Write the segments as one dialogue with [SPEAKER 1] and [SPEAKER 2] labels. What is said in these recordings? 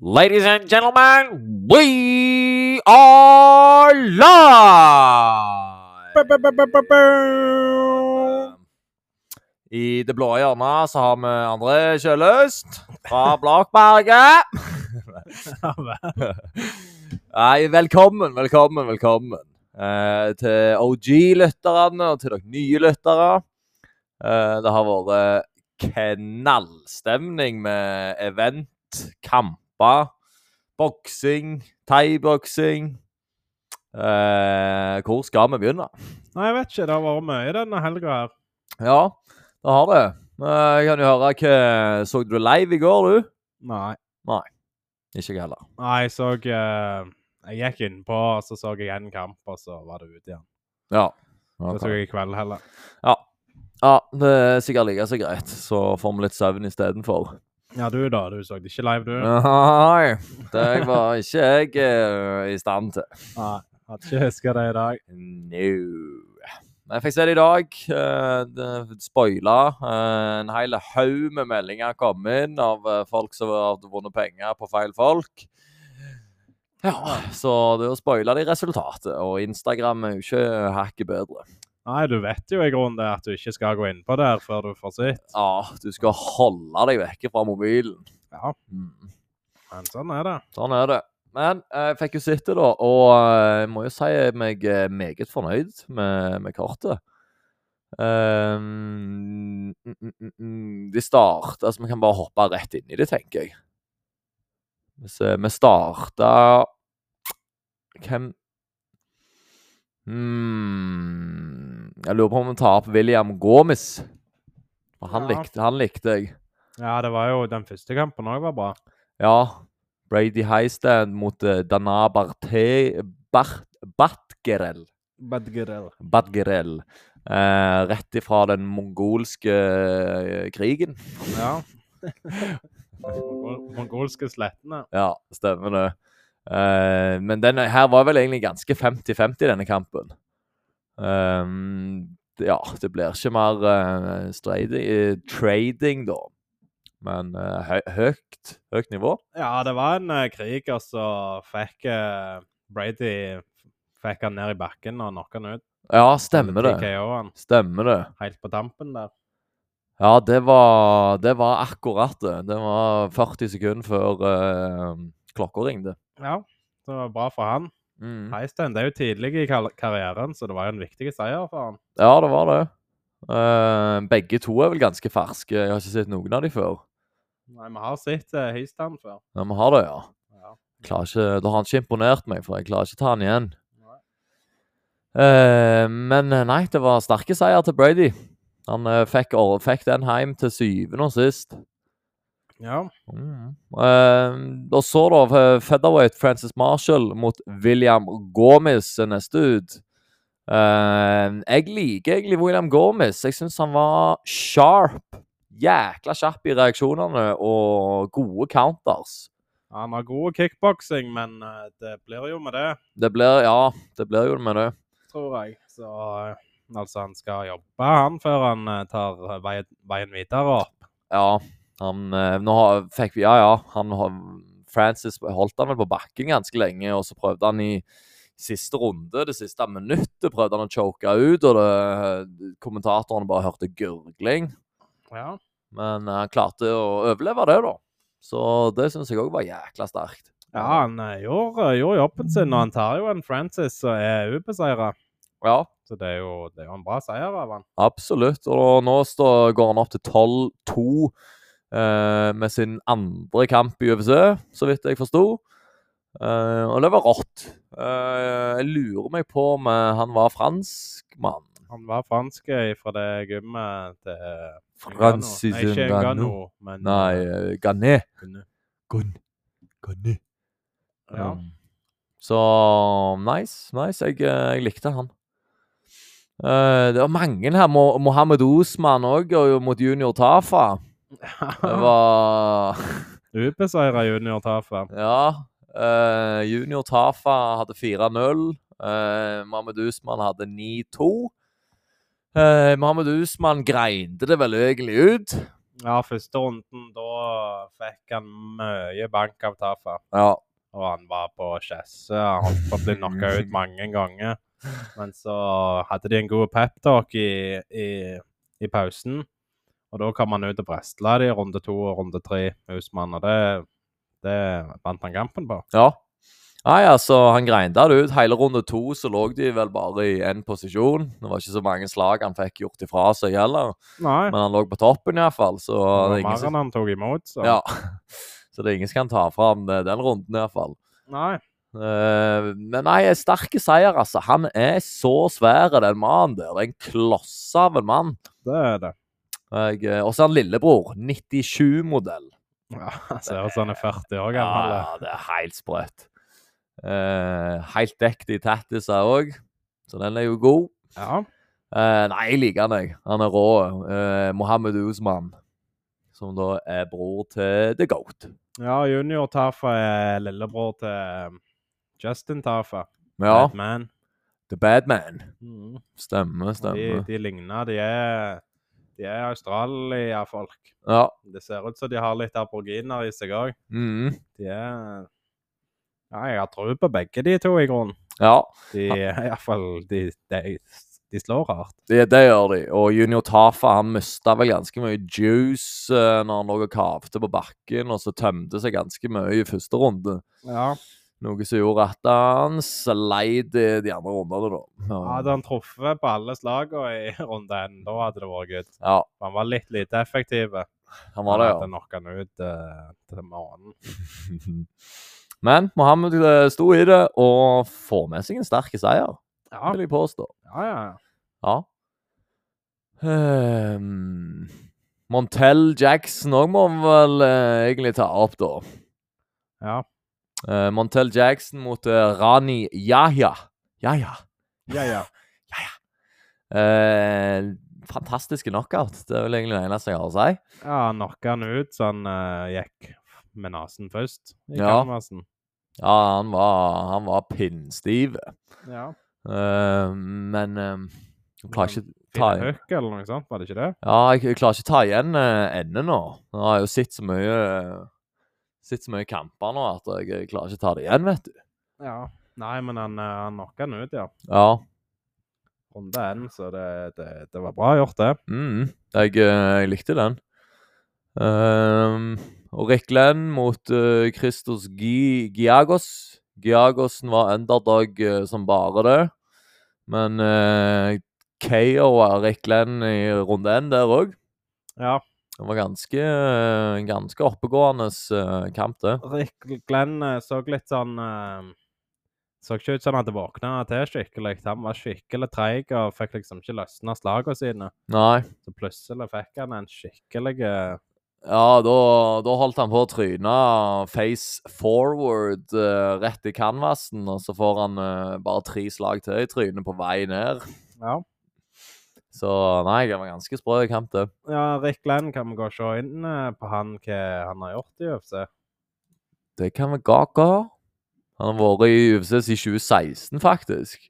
[SPEAKER 1] Ladies and gentlemen, we are live! Um, I det blå hjørnet så har vi André Kjøløst fra Blakberget. Nei, velkommen, velkommen, velkommen eh, til OG-lytterne og til dere nye lyttere. Eh, det har vært knallstemning med event, kamper, boksing, thaiboksing. Eh, hvor skal vi begynne?
[SPEAKER 2] Nei, jeg vet ikke. Det har vært mye denne helga her.
[SPEAKER 1] Ja, det har det. Eh, jeg kan jo høre hva Så du live i går, du?
[SPEAKER 2] Nei.
[SPEAKER 1] Ikke jeg heller.
[SPEAKER 2] Nei, jeg så eh, Jeg gikk innpå, og så så jeg en kamp, og så var det ute igjen.
[SPEAKER 1] Ja.
[SPEAKER 2] Det så jeg i kveld heller.
[SPEAKER 1] Ja, det er sikkert like så greit. Så får vi litt søvn istedenfor.
[SPEAKER 2] Ja, du da. Du så det ikke live, du?
[SPEAKER 1] Nei, det var ikke jeg eh, i stand til.
[SPEAKER 2] Nei. Hadde ikke huska det i dag.
[SPEAKER 1] No. Men Jeg fikk se det i dag. eh, det- Spoila. eh, En hel haug med meldinger kom inn av eh, folk som hadde vunnet penger på feil folk. Ja, så da spoila de resultatet, og Instagram er jo ikke hakket bedre.
[SPEAKER 2] Nei, du vet jo i grunnen det at du ikke skal gå innpå der før du får sitt.
[SPEAKER 1] Ja, du skal holde deg vekke fra mobilen.
[SPEAKER 2] Ja,
[SPEAKER 1] Mm.
[SPEAKER 2] men sånn er det.
[SPEAKER 1] Sånn er det. Men eh, jeg fikk jo sitte, da, og eh, jeg må jo si meg eh, meget fornøyd med, med kartet. Ehm, mm, mm, mm, mm, de starta Altså, vi kan bare hoppe rett inn i det, tenker jeg. Hvis, eh, vi starta Hvem hmm, Jeg lurer på om vi tar opp William Gomis. For han,
[SPEAKER 2] Ja.
[SPEAKER 1] likte, han likte jeg.
[SPEAKER 2] Ja, det var jo den første kampen òg var bra.
[SPEAKER 1] Ja. Brady Highstand mot eh, Dana Barte... Bart, Batgerel. Batgerel. Eh, rett ifra den mongolske eh, krigen.
[SPEAKER 2] Ja. Mongol- Mongolske slettene.
[SPEAKER 1] Ja, stemmer det. Eh, men denne her var vel egentlig ganske 50-50, denne kampen. Ehm, ja, det blir ikke mer eh, streidi- eh, trading, da. Men eh, hø høyt, høyt nivå.
[SPEAKER 2] Ja, det var en eh, krig, og så fikk eh, Brady fikk han ned i bakken og knocka han ut.
[SPEAKER 1] Ja, stemmer det.
[SPEAKER 2] TKO han
[SPEAKER 1] Stemmer det.
[SPEAKER 2] helt på tampen der.
[SPEAKER 1] Ja, det var, det var akkurat det. Det var 40 sekunder før uh, klokka ringte.
[SPEAKER 2] Ja, det var bra for han.
[SPEAKER 1] Mm.
[SPEAKER 2] Heistein, det er jo tidlig i kar karrieren, så det var jo en viktig seier for han.
[SPEAKER 1] Ja, det var det. Eh, begge to er vel ganske ferske. Jeg har ikke sett noen av de før.
[SPEAKER 2] Nei, vi har sett uh, Heistein før.
[SPEAKER 1] Men vi har det, ja.
[SPEAKER 2] Ja.
[SPEAKER 1] Klarer ikke, da har han ikke imponert meg, for jeg klarer ikke ta han igjen.
[SPEAKER 2] Nei.
[SPEAKER 1] Eh, men eh, nei, det var sterke seier til Brady. Han eh, fikk, or- fikk den hjem til syvende og sist.
[SPEAKER 2] ja.
[SPEAKER 1] Mm. Eh, og så da eh, featherweight Francis Marshall mot William Gomez er neste ut. Eh, jeg liker egentlig William Gomez. Jeg syns han var sharp. Jækla kjapp i reaksjonene og gode counters.
[SPEAKER 2] Han har god kickboksing, men eh, det blir jo med det,
[SPEAKER 1] Det blir Ja, det blir jo det med det.
[SPEAKER 2] tror jeg. Så eh, altså, han skal jobbe han før han eh, tar eh, veien, veien videre opp.
[SPEAKER 1] Ja, han eh, Nå har, fikk vi Ja, ja. Han, har- Francis holdt han vel på bakken ganske lenge, og så prøvde han i siste runde, det siste minuttet, prøvde han å choke ut, og det, eh, kommentatorene bare hørte gurgling.
[SPEAKER 2] Ja.
[SPEAKER 1] Men eh, han klarte å overleve det, da. Så det syns jeg òg var jækla sterkt.
[SPEAKER 2] Ja, han eh, gjorde, gjorde jobben sin, og han tar jo en Francis som er ubeseira.
[SPEAKER 1] Ja,
[SPEAKER 2] Så det er, jo, det er jo en bra seier av han.
[SPEAKER 1] absolutt. Og nå står, går han opp til 12-2 eh, med sin andre kamp i UFC, så vidt jeg forsto. Eh, og det var rått. Eh, jeg lurer meg på om eh, han var franskmann.
[SPEAKER 2] Han var fransk eh, fra det gymmet til eh,
[SPEAKER 1] Francis
[SPEAKER 2] Ngannou. Nei, ikke
[SPEAKER 1] Ngannou.
[SPEAKER 2] Ngannou, men
[SPEAKER 1] Nei, eh, Ghané.
[SPEAKER 2] Ngannou.
[SPEAKER 1] Ghané.
[SPEAKER 2] Ja.
[SPEAKER 1] Um, Så nice. Nice. Jeg, eh, jeg likte han. Eh, det var mange her. Mo- Mohammed Osman òg, mot junior Tafa. Det var
[SPEAKER 2] Ubeseira junior Tafa.
[SPEAKER 1] Ja. eh, junior Tafa hadde 4-0. Uh, Mohammed Usman hadde 9-2. Eh, Mohammed Usman greinde det vel egentlig ut.
[SPEAKER 2] Ja, første runden, da fikk han mye bank av Tafa.
[SPEAKER 1] Ja.
[SPEAKER 2] Og han var på kjesse, han holdt på å bli knocka ut mange ganger. Men så hadde de en god peptalk i, i, i pausen, og da kom han ut og brestla de i runde to og runde tre, Husmann, og det, det vant han kampen på.
[SPEAKER 1] ja. Nei, altså, han grinda det ut. Hele runde to så lå de vel bare i én posisjon. Det var ikke så mange slag han fikk gjort ifra seg heller,
[SPEAKER 2] Nei,
[SPEAKER 1] men han lå på toppen iallfall,
[SPEAKER 2] det
[SPEAKER 1] så det
[SPEAKER 2] var
[SPEAKER 1] er ingen
[SPEAKER 2] mer
[SPEAKER 1] som
[SPEAKER 2] enn han tok imot, så
[SPEAKER 1] Ja. Så det er ingen som kan ta fram eh, den runden, iallfall.
[SPEAKER 2] Nei.
[SPEAKER 1] Uh, men nei, en sterke seier, altså. Han er så svær, den mannen der. Det er en klosse av en mann.
[SPEAKER 2] Det er det.
[SPEAKER 1] Jeg, eh, Og så er han lillebror. 97-modell.
[SPEAKER 2] Ja, han Ser ut som han er 40 år gammel.
[SPEAKER 1] Ja, det er helt sprøtt. Eh, helt dekt i tattiser òg, så den er jo god.
[SPEAKER 2] Ja.
[SPEAKER 1] Eh, nei, jeg liker han, jeg. Han er rå. Uh, Mohammed Usman, som da er bror til The Goat.
[SPEAKER 2] ja, junior Tafa er lillebror til eh, Justin Tafa.
[SPEAKER 1] Ja,
[SPEAKER 2] Batman.
[SPEAKER 1] The Bad Man.
[SPEAKER 2] Mm.
[SPEAKER 1] Stemmer,
[SPEAKER 2] De,
[SPEAKER 1] stemmer.
[SPEAKER 2] de ligner. De er, de er Australia-folk.
[SPEAKER 1] Ja.
[SPEAKER 2] Det ser ut som de har litt aboriginer i seg òg.
[SPEAKER 1] mhm.
[SPEAKER 2] De er Ja, jeg har tro på begge de to, i grunnen.
[SPEAKER 1] ja.
[SPEAKER 2] De er iallfall de, de, de slår hardt.
[SPEAKER 1] Det, det gjør de. Og Junior Tafa han mista vel ganske mye juice eh, når han lå og kavte på bakken, og så tømte seg ganske mye i første runde.
[SPEAKER 2] Ja.
[SPEAKER 1] Noe som gjorde at han sleit i de andre rundene, da. Ja,
[SPEAKER 2] Hadde han truffet på alle slagene i runde én, da hadde det vært good.
[SPEAKER 1] ja,
[SPEAKER 2] Han var litt lite effektiv.
[SPEAKER 1] han
[SPEAKER 2] Han
[SPEAKER 1] var det,
[SPEAKER 2] hadde knocka han ut eh, til morgenen.
[SPEAKER 1] ja. Men Mohammed eh, sto i det og får med seg en sterk seier,
[SPEAKER 2] Ja,
[SPEAKER 1] vil jeg påstå.
[SPEAKER 2] ja, ja.
[SPEAKER 1] Ja. Ehm, Montel Jackson òg må vi vel eh, egentlig ta opp, da.
[SPEAKER 2] ja.
[SPEAKER 1] Eh, Montel Jackson mot eh, Rani Yahya. Yahya.
[SPEAKER 2] Ja, ja.
[SPEAKER 1] Eh, fantastiske knockout. Det er vel egentlig det eneste jeg har å si.
[SPEAKER 2] ja knocka han ut, så han eh, gikk med nesen først i
[SPEAKER 1] Ja.
[SPEAKER 2] canvasen.
[SPEAKER 1] Ja, han var, han var pinnstiv.
[SPEAKER 2] Ja.
[SPEAKER 1] Eh, men eh, jeg klarer ikke ta
[SPEAKER 2] Finn
[SPEAKER 1] igjen
[SPEAKER 2] Høck eller noe sånt, var det ikke det?
[SPEAKER 1] Ja, jeg, jeg klarer ikke ta igjen eh, enden nå. Nå har jeg jo sett så mye eh, Sett så mye kamper nå at jeg, jeg klarer ikke ta det igjen, vet du.
[SPEAKER 2] Ja. Nei, men han, eh, han knocka han ut, ja.
[SPEAKER 1] Ja.
[SPEAKER 2] Runde én, så det, det, det var bra gjort, det.
[SPEAKER 1] Mm, jeg, eh, jeg likte den. Ehm, og Rick Lenn mot eh, Christos Gi Giagos. Giagosen var underdog eh, som bare det. Men uh, KO av Rick Lenn i runde én der òg.
[SPEAKER 2] Ja.
[SPEAKER 1] Det var ganske, eh, ganske oppegående eh, kamp, det.
[SPEAKER 2] Rick Glenn eh, så litt sånn eh, Så ikke ut som han hadde våkna til skikkelig. Han var skikkelig treig og fikk liksom ikke løsna slagene sine.
[SPEAKER 1] Nei.
[SPEAKER 2] Så plutselig fikk han en skikkelig eh,
[SPEAKER 1] Ja, da, da holdt han på å tryne face forward eh, rett i canvasen, og så får han eh, bare tre slag til i trynet på vei ned.
[SPEAKER 2] Ja.
[SPEAKER 1] Så nei, det var ganske sprø kamp, det.
[SPEAKER 2] Ja, Rick Glenn, kan vi gå og se inn eh, på han, hva han har gjort i UFC?
[SPEAKER 1] Det kan vi gaka. Han har vært i UFC siden 2016, faktisk.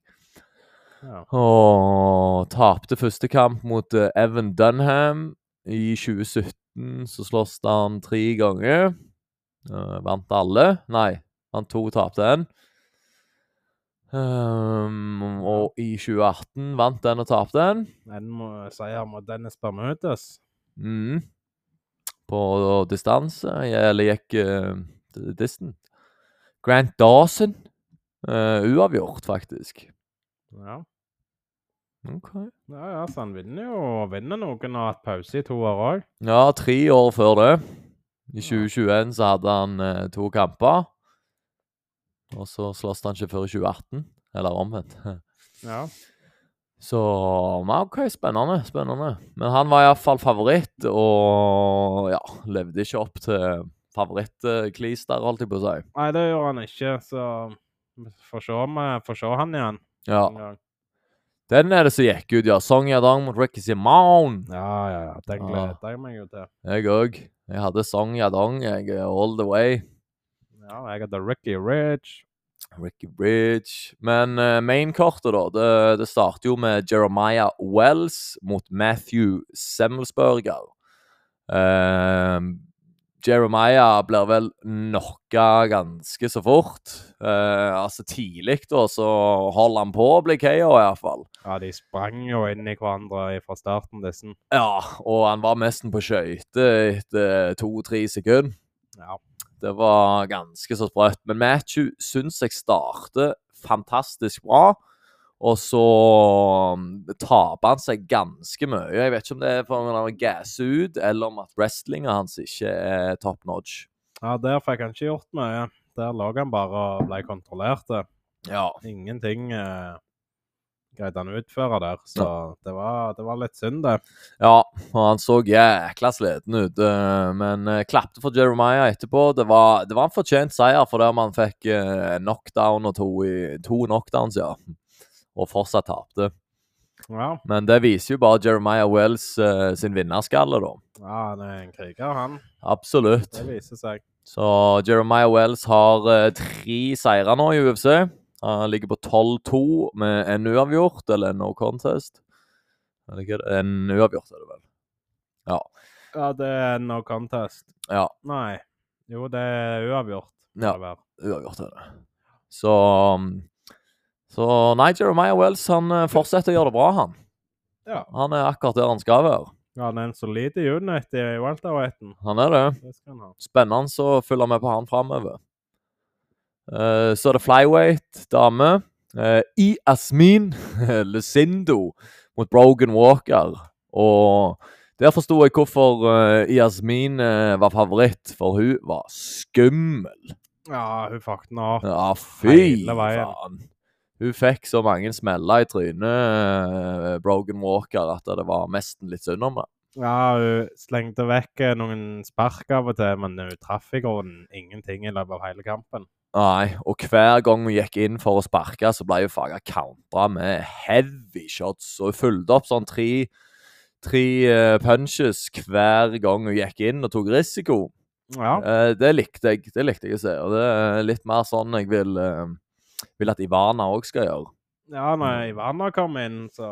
[SPEAKER 2] Ja.
[SPEAKER 1] Og tapte første kamp mot eh, Evan Dunham. I 2017 så sloss han tre ganger. Eh, vant alle. Nei, vant to, tapte én. Ehm, og i 2018 vant den og tapte den.
[SPEAKER 2] En må- seier mot Dennis Bermudes.
[SPEAKER 1] Mhm. På distanse, eller gikk uh, disten. Grant Dawson. eh, uavgjort, faktisk.
[SPEAKER 2] Ja.
[SPEAKER 1] Ok.
[SPEAKER 2] ja, ja, så han vinner jo vinner noen og har hatt pause i to år òg.
[SPEAKER 1] Ja, tre år før det. I 2021 så hadde han eh, to kamper. Og så sloss han ikke før i 2018. Eller omvendt.
[SPEAKER 2] Ja.
[SPEAKER 1] Så men OK, spennende. spennende. Men han var iallfall favoritt, og ja, levde ikke opp til favorittklis der, holdt jeg på å si.
[SPEAKER 2] Nei, det gjør han ikke, så vi får se, om vi får se han igjen.
[SPEAKER 1] Ja.
[SPEAKER 2] en gang.
[SPEAKER 1] Den er det som gikk ut, ja. Song Yadong mot Ricky Simone.
[SPEAKER 2] ja, ja. ja. Den gleder jeg meg jo til.
[SPEAKER 1] Jeg òg. Jeg hadde Song Yadong, jeg, eh, all the way.
[SPEAKER 2] Ja, jeg hadde Ricky Ridge.
[SPEAKER 1] Ricky Bridge. Men eh, mainkortet, da. Det, det starter jo med Jeremiah Wells mot Matthew Semmelsberger. Eh, Jeremiah blir vel knocka ganske så fort. Eh, altså tidlig, da, så holder han på å bli KO, iallfall.
[SPEAKER 2] Ja, de sprang jo inn i hverandre fra starten, disse.
[SPEAKER 1] Ja, og han var nesten på skøyter etter to-tre sekunder.
[SPEAKER 2] Ja.
[SPEAKER 1] Det var ganske så sprøtt. Men Matthew syns jeg starter fantastisk bra. Og så mm, taper han seg ganske mye. Jeg vet ikke om det er fordi han har gasset ut, eller om at wrestlinga hans ikke er top notch.
[SPEAKER 2] ja, der fikk han ikke gjort mye. Der lå han bare og ble kontrollert.
[SPEAKER 1] Ja.
[SPEAKER 2] Ingenting eh, greide han å utføre der, så det var, det var litt synd, det.
[SPEAKER 1] Ja, og han så jækla sliten ut, eh, men eh, klapte for Jeremiah etterpå. Det var, det var en fortjent seier, for der man fikk eh, knockdown og to, i, to knockdowns, ja. Og fortsatt tapte.
[SPEAKER 2] Ja,
[SPEAKER 1] Men det viser jo bare Jeremiah Wells eh, sin vinnerskalle, da.
[SPEAKER 2] ja han er en kriger, han.
[SPEAKER 1] Absolutt.
[SPEAKER 2] Det viser seg.
[SPEAKER 1] Så Jeremiah Wells har eh, tre seire nå i UFC. Han ligger på 12-2 med en uavgjort, eller en no contest. Eller hva er det? En uavgjort, er det vel.
[SPEAKER 2] Ja, det er no contest.
[SPEAKER 1] Ja.
[SPEAKER 2] Nei. Jo, det er uavgjort. må
[SPEAKER 1] Ja.
[SPEAKER 2] det være.
[SPEAKER 1] uavgjort er det. Så mm, Så nei, Jeremiah Wells han eh, fortsetter å gjøre det bra, han.
[SPEAKER 2] Ja.
[SPEAKER 1] Han er akkurat der han skal være.
[SPEAKER 2] ja, han er en solid unit i Walterweighten.
[SPEAKER 1] Han er det.
[SPEAKER 2] Det skal han ha.
[SPEAKER 1] Spennende å følge med på han framover. Eh, så er det flyweight, dame. Uh, I Asmin Lucindo mot Brogan Walker. Og der forsto jeg hvorfor uh, Yasmin eh, var favoritt, for hun var skummel.
[SPEAKER 2] Ja, hun fucket nå opp.
[SPEAKER 1] Ja, fy
[SPEAKER 2] Hele veien.
[SPEAKER 1] faen. Hun fikk så mange smeller i trynet, eh, Brogan Walker, at det var nesten litt synd om det.
[SPEAKER 2] Ja, hun slengte vekk eh, noen spark av og til, men hun traff i grunnen ingenting i løpet av hele kampen.
[SPEAKER 1] Nei, og hver gang hun gikk inn for å sparke, så ble hun faga countra med heavy shots. Og hun fulgte opp sånn tre, tre eh, punches hver gang hun gikk inn og tok risiko.
[SPEAKER 2] Ja,
[SPEAKER 1] Eh, det likte jeg det likte jeg å se, og det er litt mer sånn jeg vil, eh, vil at Ivana òg skal gjøre.
[SPEAKER 2] ja når Ivana kom inn, så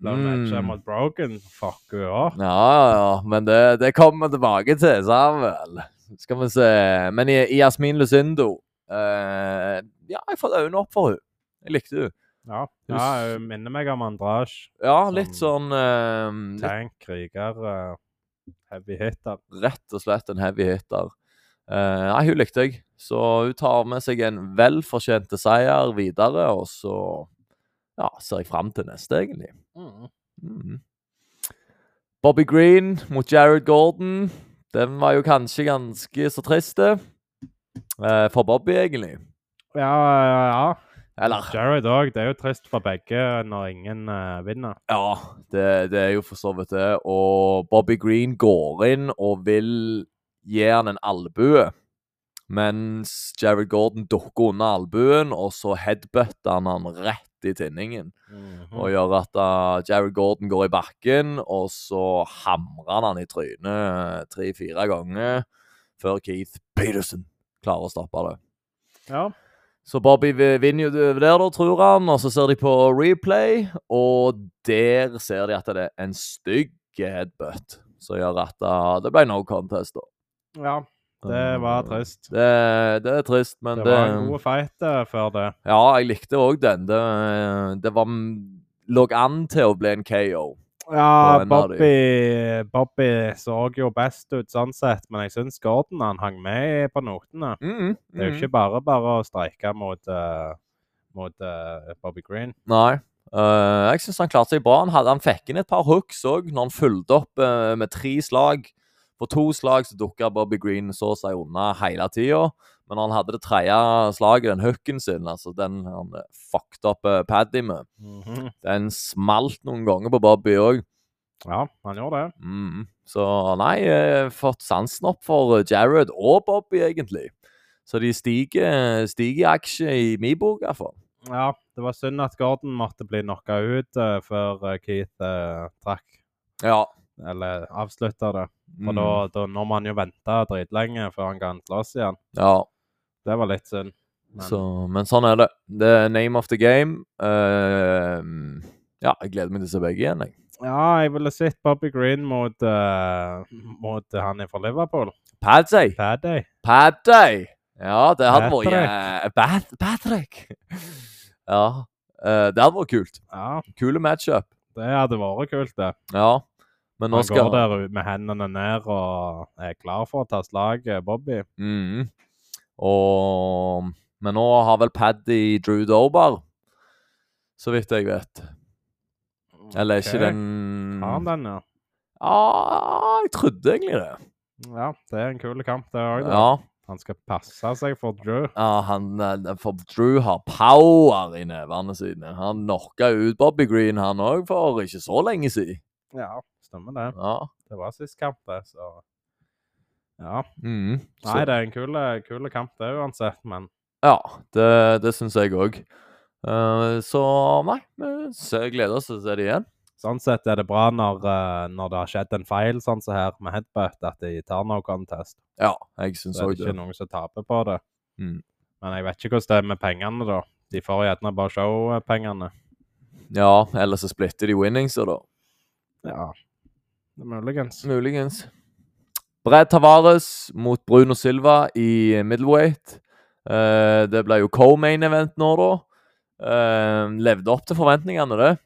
[SPEAKER 2] ble hun
[SPEAKER 1] Mm.
[SPEAKER 2] matcha mot Brogan. Fuck hun òg.
[SPEAKER 1] Ja, ja, men det, det kommer vi tilbake til, Samuel. Skal vi se. Men i, i Jasmin Lucindo eh, Ja, jeg fått øynene opp for henne. Jeg likte henne.
[SPEAKER 2] Ja. ja, hun minner meg om Andrasj.
[SPEAKER 1] Ja,
[SPEAKER 2] Som-
[SPEAKER 1] litt sånn eh, litt,
[SPEAKER 2] Tank, kriger, eh, heavy hitter.
[SPEAKER 1] Rett og slett en heavy hitter. Eh, nei, hun likte jeg. Så hun tar med seg en velfortjent seier videre, og så ja, ser jeg fram til neste, egentlig. Mhm. Bobby Green mot Jared Gordon. Den var jo kanskje ganske så trist det. Eh, for Bobby, egentlig.
[SPEAKER 2] Ja, ja, ja.
[SPEAKER 1] Eller
[SPEAKER 2] Jared òg. Det er jo trist for begge når ingen eh, vinner.
[SPEAKER 1] Ja, det, det er jo for så vidt det. Og Bobby Green går inn og vil gi han en albue. Mens Jared Gordon dukker unna albuen, og så headbutter han han rett i tinningen.
[SPEAKER 2] Mhm.
[SPEAKER 1] og gjør at uh, Jared Gordon går i bakken, og så hamrer han han i trynet tre-fire ganger før Keith Peterson klarer å stoppe det.
[SPEAKER 2] Ja.
[SPEAKER 1] Så Bobby vi- vinner jo det der, da, tror han, og så ser de på replay, og der ser de at det er en stygg headbutt som gjør at uh, det ble no contest, da.
[SPEAKER 2] ja. Det var trist.
[SPEAKER 1] Det, det er trist, men
[SPEAKER 2] Det
[SPEAKER 1] det,
[SPEAKER 2] var en god fight eh, før det.
[SPEAKER 1] Ja, jeg likte òg den. Det, eh, det var lå an til å bli en KO.
[SPEAKER 2] Ja,
[SPEAKER 1] Det var en av
[SPEAKER 2] Bobby, Bobby så jo best ut sånn sett, men jeg syns Gordon han hang med på notene.
[SPEAKER 1] Mm,
[SPEAKER 2] Det er jo
[SPEAKER 1] mm.
[SPEAKER 2] ikke bare bare å streike mot, eh, mot eh, Bobby Green.
[SPEAKER 1] Nei. Eh, jeg syns han klarte seg bra. Han, hadde, han fikk inn et par hooks òg, når han fulgte opp eh, med tre slag. På to slag så dukka Bobby Green så seg unna hele tida. Men når han hadde det tredje slaget, den hooken sin, altså den han eh, fucked opp eh, Paddy med, den smalt noen ganger på Bobby òg.
[SPEAKER 2] Ja, han gjorde det.
[SPEAKER 1] Mm. Så nei, eh, fått sansen opp for eh, Jared og Bobby, egentlig. Så de stiger, eh, stiger i aksje i min bok, iallfall.
[SPEAKER 2] Ja, det var synd at Gordon måtte bli knocka ut eh, før eh, Keith eh, trakk,
[SPEAKER 1] Ja.
[SPEAKER 2] eller avslutta det. For
[SPEAKER 1] Mm.
[SPEAKER 2] da, da nå må han jo vente dritlenge før han kan slåss igjen.
[SPEAKER 1] ja.
[SPEAKER 2] Det var litt synd. Men
[SPEAKER 1] Så, men sånn er det. Ehm, Det er name of the game. Eh, ja, jeg gleder meg til å se begge igjen. Jeg.
[SPEAKER 2] Ja, jeg ville sett Bobby Green mot, eh, mot han er fra Liverpool.
[SPEAKER 1] Padsey!
[SPEAKER 2] Paddy.
[SPEAKER 1] Paddy! Ja, det hadde vært
[SPEAKER 2] Patrick.
[SPEAKER 1] eh, Pat- Patrick! ja. eh, det hadde vært kult.
[SPEAKER 2] Ja,
[SPEAKER 1] Kule matchup.
[SPEAKER 2] det hadde vært kult, det.
[SPEAKER 1] Ja. Men nå
[SPEAKER 2] Han
[SPEAKER 1] skal
[SPEAKER 2] går der ut med hendene ned og er klar for å ta slaget, Bobby.
[SPEAKER 1] Mhm. Og Men nå har vel Paddy Drew Dober, så vidt jeg vet. Eller er
[SPEAKER 2] Ok.
[SPEAKER 1] ikke den
[SPEAKER 2] Har han den, ja?
[SPEAKER 1] Ja, jeg trodde egentlig det.
[SPEAKER 2] Ja, det er en kul kamp, det òg.
[SPEAKER 1] Ja.
[SPEAKER 2] Han skal passe seg for Drew.
[SPEAKER 1] Ja, han, eh, for Drew har power i nevene sine. Han knocka ut Bobby Green, han òg, for ikke så lenge siden.
[SPEAKER 2] Ja, stemmer det.
[SPEAKER 1] Ja.
[SPEAKER 2] Det var sist kamp, det, så Ja.
[SPEAKER 1] Mhm. Så-
[SPEAKER 2] Nei, det er en kul, kul kamp, det uansett, men
[SPEAKER 1] Ja, det, det syns jeg òg. så nei, vi ser- gleder oss til å se det igjen.
[SPEAKER 2] Sånn sett er det bra når, eh, når det har skjedd en feil sånn som her med headbutt, at de tar no contest.
[SPEAKER 1] Ja, jeg syns
[SPEAKER 2] Så er
[SPEAKER 1] òg
[SPEAKER 2] det ikke
[SPEAKER 1] det.
[SPEAKER 2] noen som taper på det.
[SPEAKER 1] Mm.
[SPEAKER 2] Men jeg vet ikke hvordan det er med pengene, da. De får gjerne bare eh, showpengene.
[SPEAKER 1] Ja, eller så splitter de winningser, da.
[SPEAKER 2] Ja, det er muligens.
[SPEAKER 1] Muligens. Brad Tavares mot Bruno Silva i middleweight. Eh, det ble jo co-main event nå, da. Eh, levde opp til forventningene, det.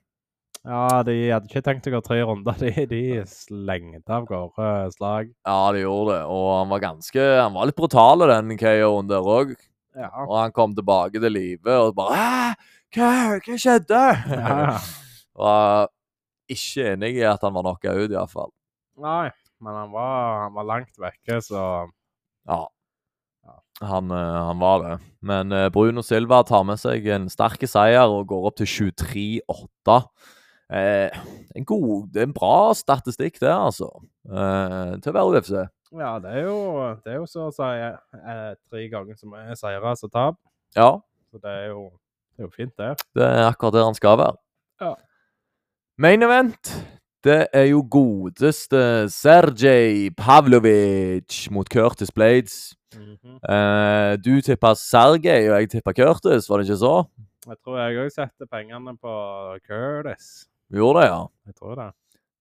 [SPEAKER 2] Ja, de hadde ikke tenkt å gå tre runder. De, de slengte av gårde eh, slag.
[SPEAKER 1] Ja, det gjorde det. Og han var ganske Han var litt brutal, den KO-en der òg.
[SPEAKER 2] Ja.
[SPEAKER 1] Og han kom tilbake til live og bare Hæ? Hva, hva skjedde?
[SPEAKER 2] Ja.
[SPEAKER 1] Var ikke enig i at han var knocka ut, iallfall.
[SPEAKER 2] Nei, men han var, han var langt vekke, så
[SPEAKER 1] Ja. Han, eh, han var det. Men eh, Bruno Silva tar med seg en sterk seier og går opp til 23-8. Eh, en god, det er en bra statistikk, det, altså. Eh, til å være UFC.
[SPEAKER 2] Ja, det er jo, det er jo så å si eh, tre ganger så mye seire som tap.
[SPEAKER 1] Ja,
[SPEAKER 2] Så det er jo, det er jo fint, det.
[SPEAKER 1] Det er akkurat der han skal være.
[SPEAKER 2] Ja.
[SPEAKER 1] Main event, det er jo godeste Sergej Pavlovic mot Curtis Blades. Eh, du tippa Sergej, og jeg tippa Curtis, var det ikke så?
[SPEAKER 2] Jeg tror jeg òg setter pengene på Curtis.
[SPEAKER 1] Vi gjorde det, ja.
[SPEAKER 2] Jeg tror det.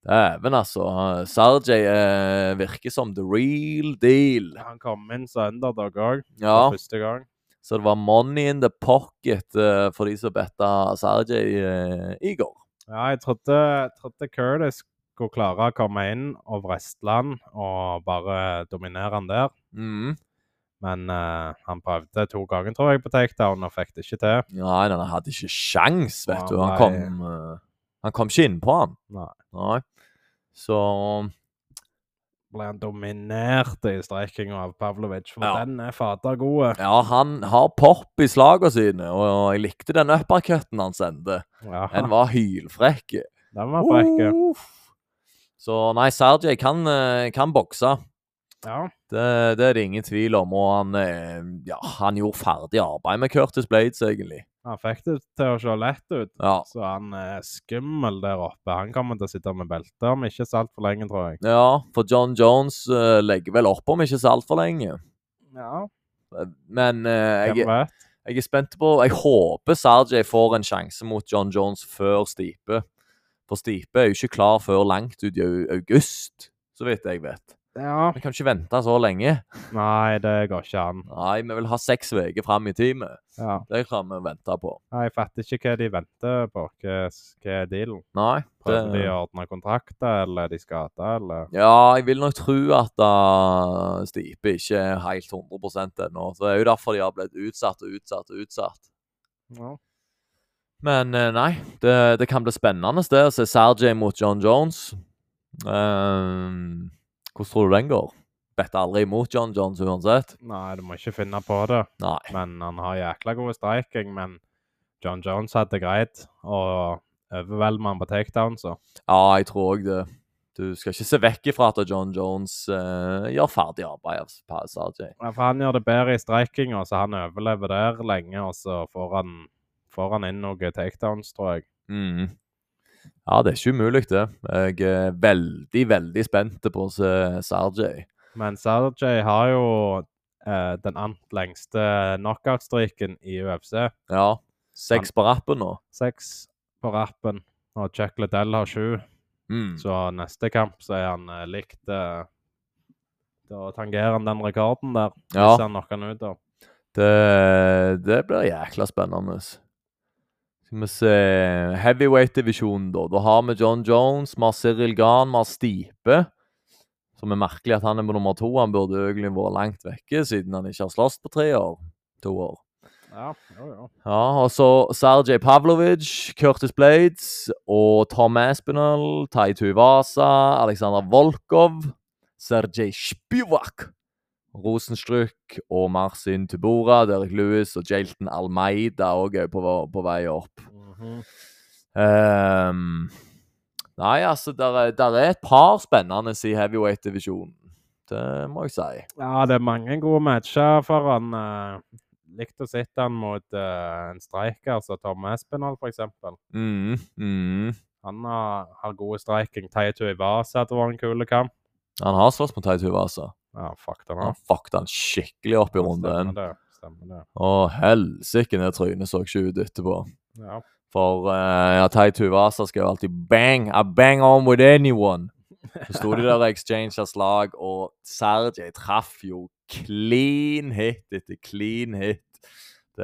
[SPEAKER 1] Dæven, altså. Sergej eh, virker som the real deal.
[SPEAKER 2] Han kom inn som underdog òg,
[SPEAKER 1] Ja,
[SPEAKER 2] for første gang.
[SPEAKER 1] så det var money in the pocket eh, for de som betta Sergej eh, i går.
[SPEAKER 2] Ja, jeg trodde, trodde Curtis skulle klare å komme inn og vreste han og bare dominere han der.
[SPEAKER 1] Mm.
[SPEAKER 2] Men eh, han prøvde to ganger, tror jeg, på takedown og fikk det ikke til.
[SPEAKER 1] Nei, nei, han hadde ikke sjans, vet
[SPEAKER 2] Nei,
[SPEAKER 1] du. Han
[SPEAKER 2] nei.
[SPEAKER 1] kom, eh, han kom ikke inn på han.
[SPEAKER 2] Nei.
[SPEAKER 1] Nei. Så
[SPEAKER 2] Ble han dominert i streikinga av Pavlovic, for
[SPEAKER 1] Ja.
[SPEAKER 2] den er fader god.
[SPEAKER 1] Ja, han har pop i slagene sine, og, og jeg likte den uppercutten han sendte.
[SPEAKER 2] Ja,
[SPEAKER 1] Den var hylfrekk.
[SPEAKER 2] den var frekk.
[SPEAKER 1] Uh. Uff. Så nei, Sergej kan, eh, kan bokse.
[SPEAKER 2] Ja.
[SPEAKER 1] Det, det er det ingen tvil om. Og han, eh, ja, han gjorde ferdig arbeid med Curtis Blades, egentlig.
[SPEAKER 2] Han fikk det til å se lett ut,
[SPEAKER 1] Ja.
[SPEAKER 2] så han er skummel der oppe. Han kommer til å sitte med belte om ikke så altfor lenge, tror jeg.
[SPEAKER 1] ja, for John Jones eh, legger vel opp om ikke så altfor lenge.
[SPEAKER 2] Ja,
[SPEAKER 1] Men eh, jeg,
[SPEAKER 2] hvem vet?
[SPEAKER 1] Jeg er spent på Jeg håper Sergej får en sjanse mot John Jones før Stipe. For Stipe er jo ikke klar før langt ut i au- august, så vidt jeg vet.
[SPEAKER 2] Ja.
[SPEAKER 1] Vi kan ikke vente så lenge.
[SPEAKER 2] Nei, det går ikke an.
[SPEAKER 1] Nei, vi vil ha seks uker fram i teamet.
[SPEAKER 2] Ja.
[SPEAKER 1] Det kan vi vente på.
[SPEAKER 2] Nei, Jeg fatter ikke hva de venter på. Hva hva er dealen?
[SPEAKER 1] Nei.
[SPEAKER 2] Prøver de
[SPEAKER 1] Det,
[SPEAKER 2] å ordne kontrakter, eller er de skada, eller
[SPEAKER 1] ja, jeg vil nok tro at uh, Stipe ikke er helt 100 ennå. Så det er jo derfor de har blitt utsatt og utsatt og utsatt.
[SPEAKER 2] ja.
[SPEAKER 1] Men eh, nei, det, det kan bli spennende det å se Sergej mot John Jones. Ehm, hvordan tror du den går? Better aldri mot John Jones uansett.
[SPEAKER 2] Nei, du må ikke finne på det.
[SPEAKER 1] Nei.
[SPEAKER 2] Men han har jækla god striking. Men John Jones hadde greit å overvelme han på takedown, så.
[SPEAKER 1] Ja, jeg tror òg det. Du skal ikke se vekk ifra at John Jones eh, gjør ferdig arbeid av Pa- Sergej.
[SPEAKER 2] Ja, for han gjør det bedre i strikinga, så han overlever der lenge, og så får han, får han inn noen takedowns, tror jeg.
[SPEAKER 1] Mm. Ja, det er ikke umulig, det. Jeg er veldig, veldig spent på å se Sergej.
[SPEAKER 2] Men Sergej har jo eh, den annet lengste knockout-streaken i UFC.
[SPEAKER 1] Ja. Seks på rappen nå.
[SPEAKER 2] Seks på rappen, og Chuck Liddell har sju.
[SPEAKER 1] Mm.
[SPEAKER 2] Så neste kamp så er han eh, likt eh, Da tangerer han den rekorden der, hvis
[SPEAKER 1] Ja,
[SPEAKER 2] han knocker han ut, da.
[SPEAKER 1] det, det blir jækla spennende. Skal vi se Heavyweight-divisjonen, da. Da har vi John Jones, vi har Cyril Gahn, vi har Stipe. Som er merkelig at han er på nummer to. Han burde egentlig vært langt vekke, siden han ikke har slåss på tre år. To år.
[SPEAKER 2] Ja, jo, jo.
[SPEAKER 1] Ja, og så Sergej Pavlovic, Curtis Blades og Tom Aspinall, Tai Tuvasa, Aleksandr Volkov, Sergej Spivak, Rosenstruk og Marcin Tubora, Derek Lewis og Jalton Almeida òg er på, vei- på vei opp.
[SPEAKER 2] Mhm.
[SPEAKER 1] Ehm, nei, altså, der er, der er et par spennende i heavyweight-divisjonen. Det må jeg si.
[SPEAKER 2] Ja, det er mange gode matcher for han. eh, Likt å sitte han mot eh, en streiker som Tom Espinal, for eksempel.
[SPEAKER 1] Mm, mm.
[SPEAKER 2] Han har, har gode striking. Taito Ivasa det var en kul kamp.
[SPEAKER 1] Han har slåss mot Tai Tuvasa.
[SPEAKER 2] Ja, fuck den
[SPEAKER 1] Han
[SPEAKER 2] opp.
[SPEAKER 1] fucket han skikkelig opp i runden.
[SPEAKER 2] Stemmer det. Stemmer det.
[SPEAKER 1] Å, helsike, det trynet så ikke ut etterpå.
[SPEAKER 2] Ja.
[SPEAKER 1] For eh, ja, Tai Tuvasa skrev alltid 'bang, I bang on with anyone'. Så sto de der og exchanget slag, og Sergej traff jo clean hit etter clean hit. Det,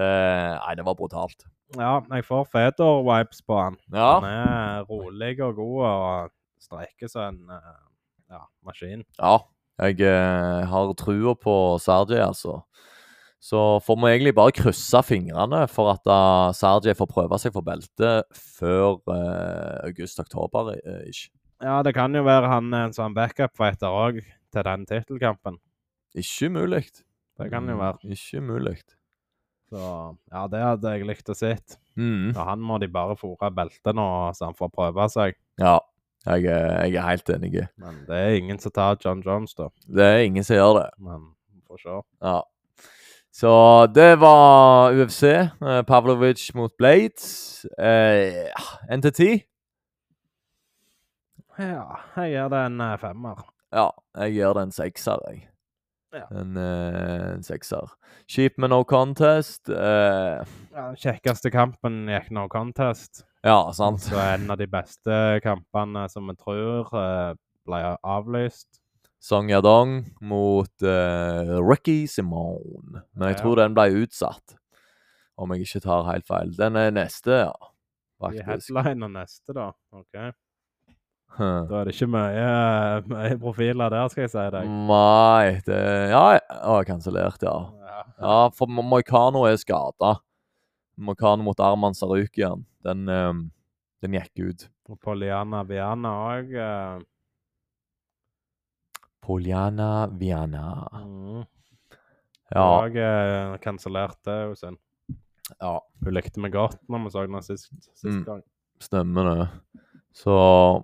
[SPEAKER 1] nei, det var brutalt.
[SPEAKER 2] ja, jeg får Fedor-vibes på han. Han
[SPEAKER 1] Ja,
[SPEAKER 2] er rolig og god og streiker som en eh, ja, maskin.
[SPEAKER 1] ja jeg eh, har trua på Sergej, altså. Så får vi egentlig bare krysse fingrene for at uh, Sergej får prøve seg for beltet før eh, august-oktober. eh, ikke.
[SPEAKER 2] Ja, det kan jo være han er en sånn backup-fighter òg til den tittelkampen.
[SPEAKER 1] Ikke umulig.
[SPEAKER 2] Det kan
[SPEAKER 1] Mm.
[SPEAKER 2] jo være.
[SPEAKER 1] Ikke umulig.
[SPEAKER 2] Så ja, det hadde jeg likt å sett.
[SPEAKER 1] Mm.
[SPEAKER 2] Og han må de bare fòre beltet nå, så han får prøve seg.
[SPEAKER 1] Ja, jeg, er- jeg er helt enig.
[SPEAKER 2] Men det er ingen som tar John Jones, da.
[SPEAKER 1] Det er ingen som gjør det.
[SPEAKER 2] Men vi får se.
[SPEAKER 1] Ja. Så det var UFC. eh, Pavlovic mot Blades. Eh, ja, NTT.
[SPEAKER 2] Ja, jeg gir det en eh, femmer.
[SPEAKER 1] Ja, jeg gir det en sekser, jeg.
[SPEAKER 2] Ja.
[SPEAKER 1] En, eh, en sekser. Kjipt med no contest. Eh,
[SPEAKER 2] Ja, den kjekkeste kampen gikk no contest.
[SPEAKER 1] ja, sant.
[SPEAKER 2] Så en av de beste kampene som vi tror eh, ble avlyst.
[SPEAKER 1] Song Yadong mot eh, Ricky Simone. Men jeg
[SPEAKER 2] Ja.
[SPEAKER 1] tror den ble utsatt, om jeg ikke tar helt feil. Den er neste, ja.
[SPEAKER 2] I
[SPEAKER 1] Faktisk.
[SPEAKER 2] headliner neste, da. Ok.
[SPEAKER 1] Hm.
[SPEAKER 2] Da er det ikke mye, mye profiler der, skal jeg si
[SPEAKER 1] Mm.
[SPEAKER 2] deg.
[SPEAKER 1] Nei det, Ja, ja. Å, kansellert, ja.
[SPEAKER 2] Ja.
[SPEAKER 1] Ja, for Mo- Moicano er skada. Moicano mot Arman Sarukian. Den, eh, den gikk ut.
[SPEAKER 2] Og Poliana Viana eh, òg.
[SPEAKER 1] Poliana Viana.
[SPEAKER 2] Mm.
[SPEAKER 1] Ja.
[SPEAKER 2] Og eh, kansellert det jo sin.
[SPEAKER 1] ja.
[SPEAKER 2] Hun likte meg godt når vi så henne sist, sist
[SPEAKER 1] Mm.
[SPEAKER 2] gang.
[SPEAKER 1] Stemmer det. Så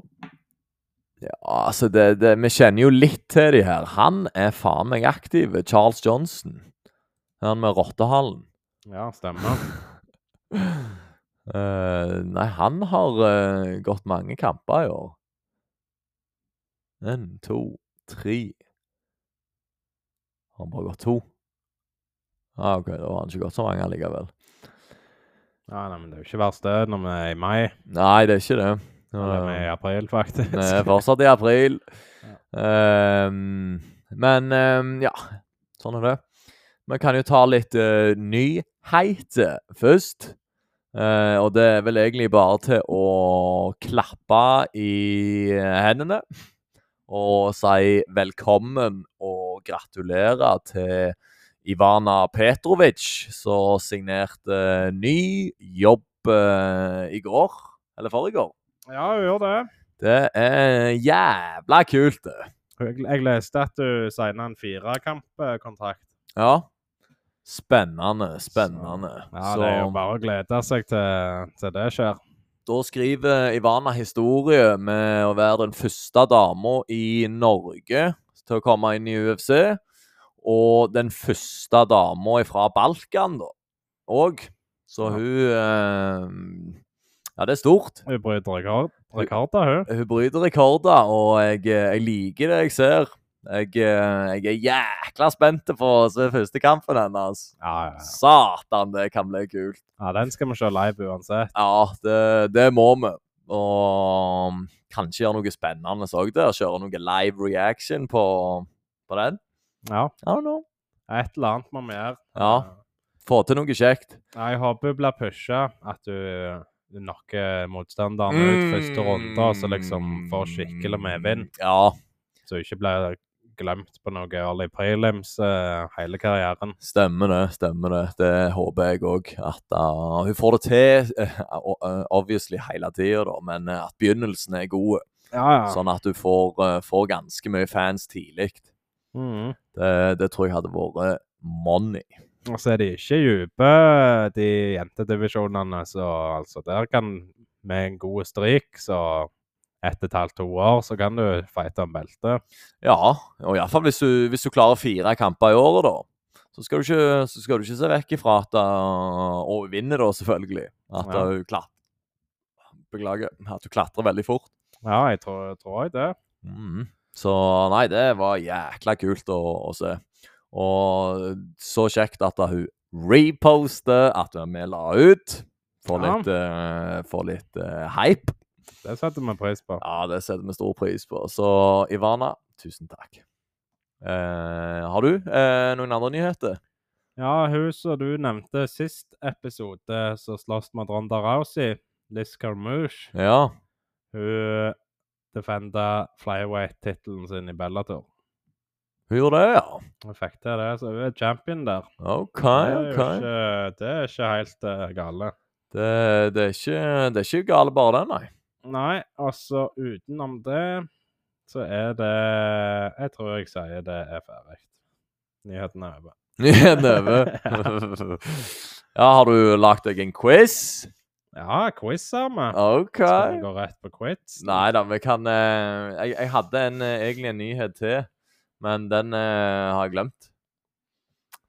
[SPEAKER 1] Ja, altså det, det, Vi kjenner jo litt til de her. Han er faen meg aktiv. Charles Johnson. Han med rottehallen.
[SPEAKER 2] Ja, stemmer.
[SPEAKER 1] Eh, nei, han har eh, gått mange kamper i år. Én, to, tre Har han bare gått to? Ah, OK, da har han ikke gått så mange allikevel.
[SPEAKER 2] Ja, nei, men Det er jo ikke verst det når vi er i mai.
[SPEAKER 1] Nei, det er ikke det.
[SPEAKER 2] Eller vi
[SPEAKER 1] Eh,
[SPEAKER 2] er i april, faktisk.
[SPEAKER 1] Vi er eh, fortsatt i april. Ehm, men ehm, ja, sånn er det. Vi kan jo ta litt uh, nyheter først. Eh, og det er vel egentlig bare til å klappe i hendene og si velkommen og gratulere til Ivana Petrovic, som signerte eh, ny jobb eh, i går, eller forrige år.
[SPEAKER 2] Ja, hun gjorde det.
[SPEAKER 1] Det er jævla kult, det.
[SPEAKER 2] Jeg, jeg leste at hun signa en firekampkontrakt.
[SPEAKER 1] Ja. Spennende, spennende.
[SPEAKER 2] Ja,
[SPEAKER 1] Så
[SPEAKER 2] Det er jo bare å glede seg til, til det skjer.
[SPEAKER 1] da skriver Ivana historie med å være den første dama i Norge til å komme inn i UFC. Og den første dama fra Balkan, da. Og så
[SPEAKER 2] Ja.
[SPEAKER 1] hun eh, Ja, det er stort.
[SPEAKER 2] Hun bryter rekord, rekorder, hun.
[SPEAKER 1] Hun bryter rekorder, og jeg, eh, jeg liker det jeg ser. Jeg, eh, jeg er jækla spent på å se første kampen hennes.
[SPEAKER 2] Ja, ja, ja.
[SPEAKER 1] Satan, det kan bli kult.
[SPEAKER 2] ja, den skal vi se live uansett.
[SPEAKER 1] Ja, det, det må vi. Og um, kanskje gjøre noe spennende òg der. Kjøre noe live reaction på, på den.
[SPEAKER 2] Ja,
[SPEAKER 1] I don't know.
[SPEAKER 2] et eller annet må vi gjøre.
[SPEAKER 1] Ja. Få til noe kjekt.
[SPEAKER 2] Nei, Jeg håper hun blir pusha, at du du knocker motstanderen ut første runde, og så liksom får skikkelig medvind.
[SPEAKER 1] Ja,
[SPEAKER 2] Så hun ikke blir glemt på noe early prelims eh, hele karrieren.
[SPEAKER 1] stemmer det. Stemmer det. Det håper jeg òg. At uh, hun får det til, eh, o- eh, obviously hele tida, da, men eh, at begynnelsen er god.
[SPEAKER 2] Ja, ja.
[SPEAKER 1] Sånn at du får, eh, får ganske mye fans tidlig.
[SPEAKER 2] Mhm.
[SPEAKER 1] Det, det tror jeg hadde vært money.
[SPEAKER 2] Og så er de ikke dype, de jentedivisjonene, så altså der kan med en god strik, så ett og et halvt to år, så kan du fighte om beltet.
[SPEAKER 1] Ja, og iallfall hvis, du- hvis du klarer fire kamper i året, da. Så skal, du ikke, så skal du ikke se vekk ifra at uh, Og hun vinner, da, selvfølgelig. At
[SPEAKER 2] Ja.
[SPEAKER 1] uh, hun klatrer Beklager. At hun klatrer veldig fort.
[SPEAKER 2] Ja, jeg tror, tror jeg det.
[SPEAKER 1] Mhm. Så nei, det var jækla kult å, å se. Og så kjekt at da hun reposter at vi la ut. Får
[SPEAKER 2] Ja.
[SPEAKER 1] litt, eh, får litt eh, hype.
[SPEAKER 2] Det setter vi pris på.
[SPEAKER 1] Ja, det setter vi stor pris på. Så Ivana, tusen takk. Eh, har du eh, noen andre nyheter?
[SPEAKER 2] Ja, hun som du nevnte sist episode, som slåss mot Ronda Rousey, Liz Carmouche,
[SPEAKER 1] Ja.
[SPEAKER 2] hun defenda flyweight-tittelen sin i Bellator.
[SPEAKER 1] Hun gjorde det, ja.
[SPEAKER 2] Hun fikk til det, så hun er champion der.
[SPEAKER 1] OK,
[SPEAKER 2] det, er
[SPEAKER 1] OK.
[SPEAKER 2] jo ikke, det er ikke helt eh, gale.
[SPEAKER 1] Det, det, er ikke, det er ikke gale bare den, nei.
[SPEAKER 2] Nei, altså utenom det, så er det Jeg tror jeg sier det er ferdig. Nyheten er over.
[SPEAKER 1] Nyheten er over. ja, har du lagt deg en quiz?
[SPEAKER 2] Ja, quiz har vi.
[SPEAKER 1] OK.
[SPEAKER 2] Skal vi gå rett på quiz?
[SPEAKER 1] Nei da, vi kan eh, jeg, jeg hadde en, eh, egentlig en nyhet til, men den eh, har jeg glemt.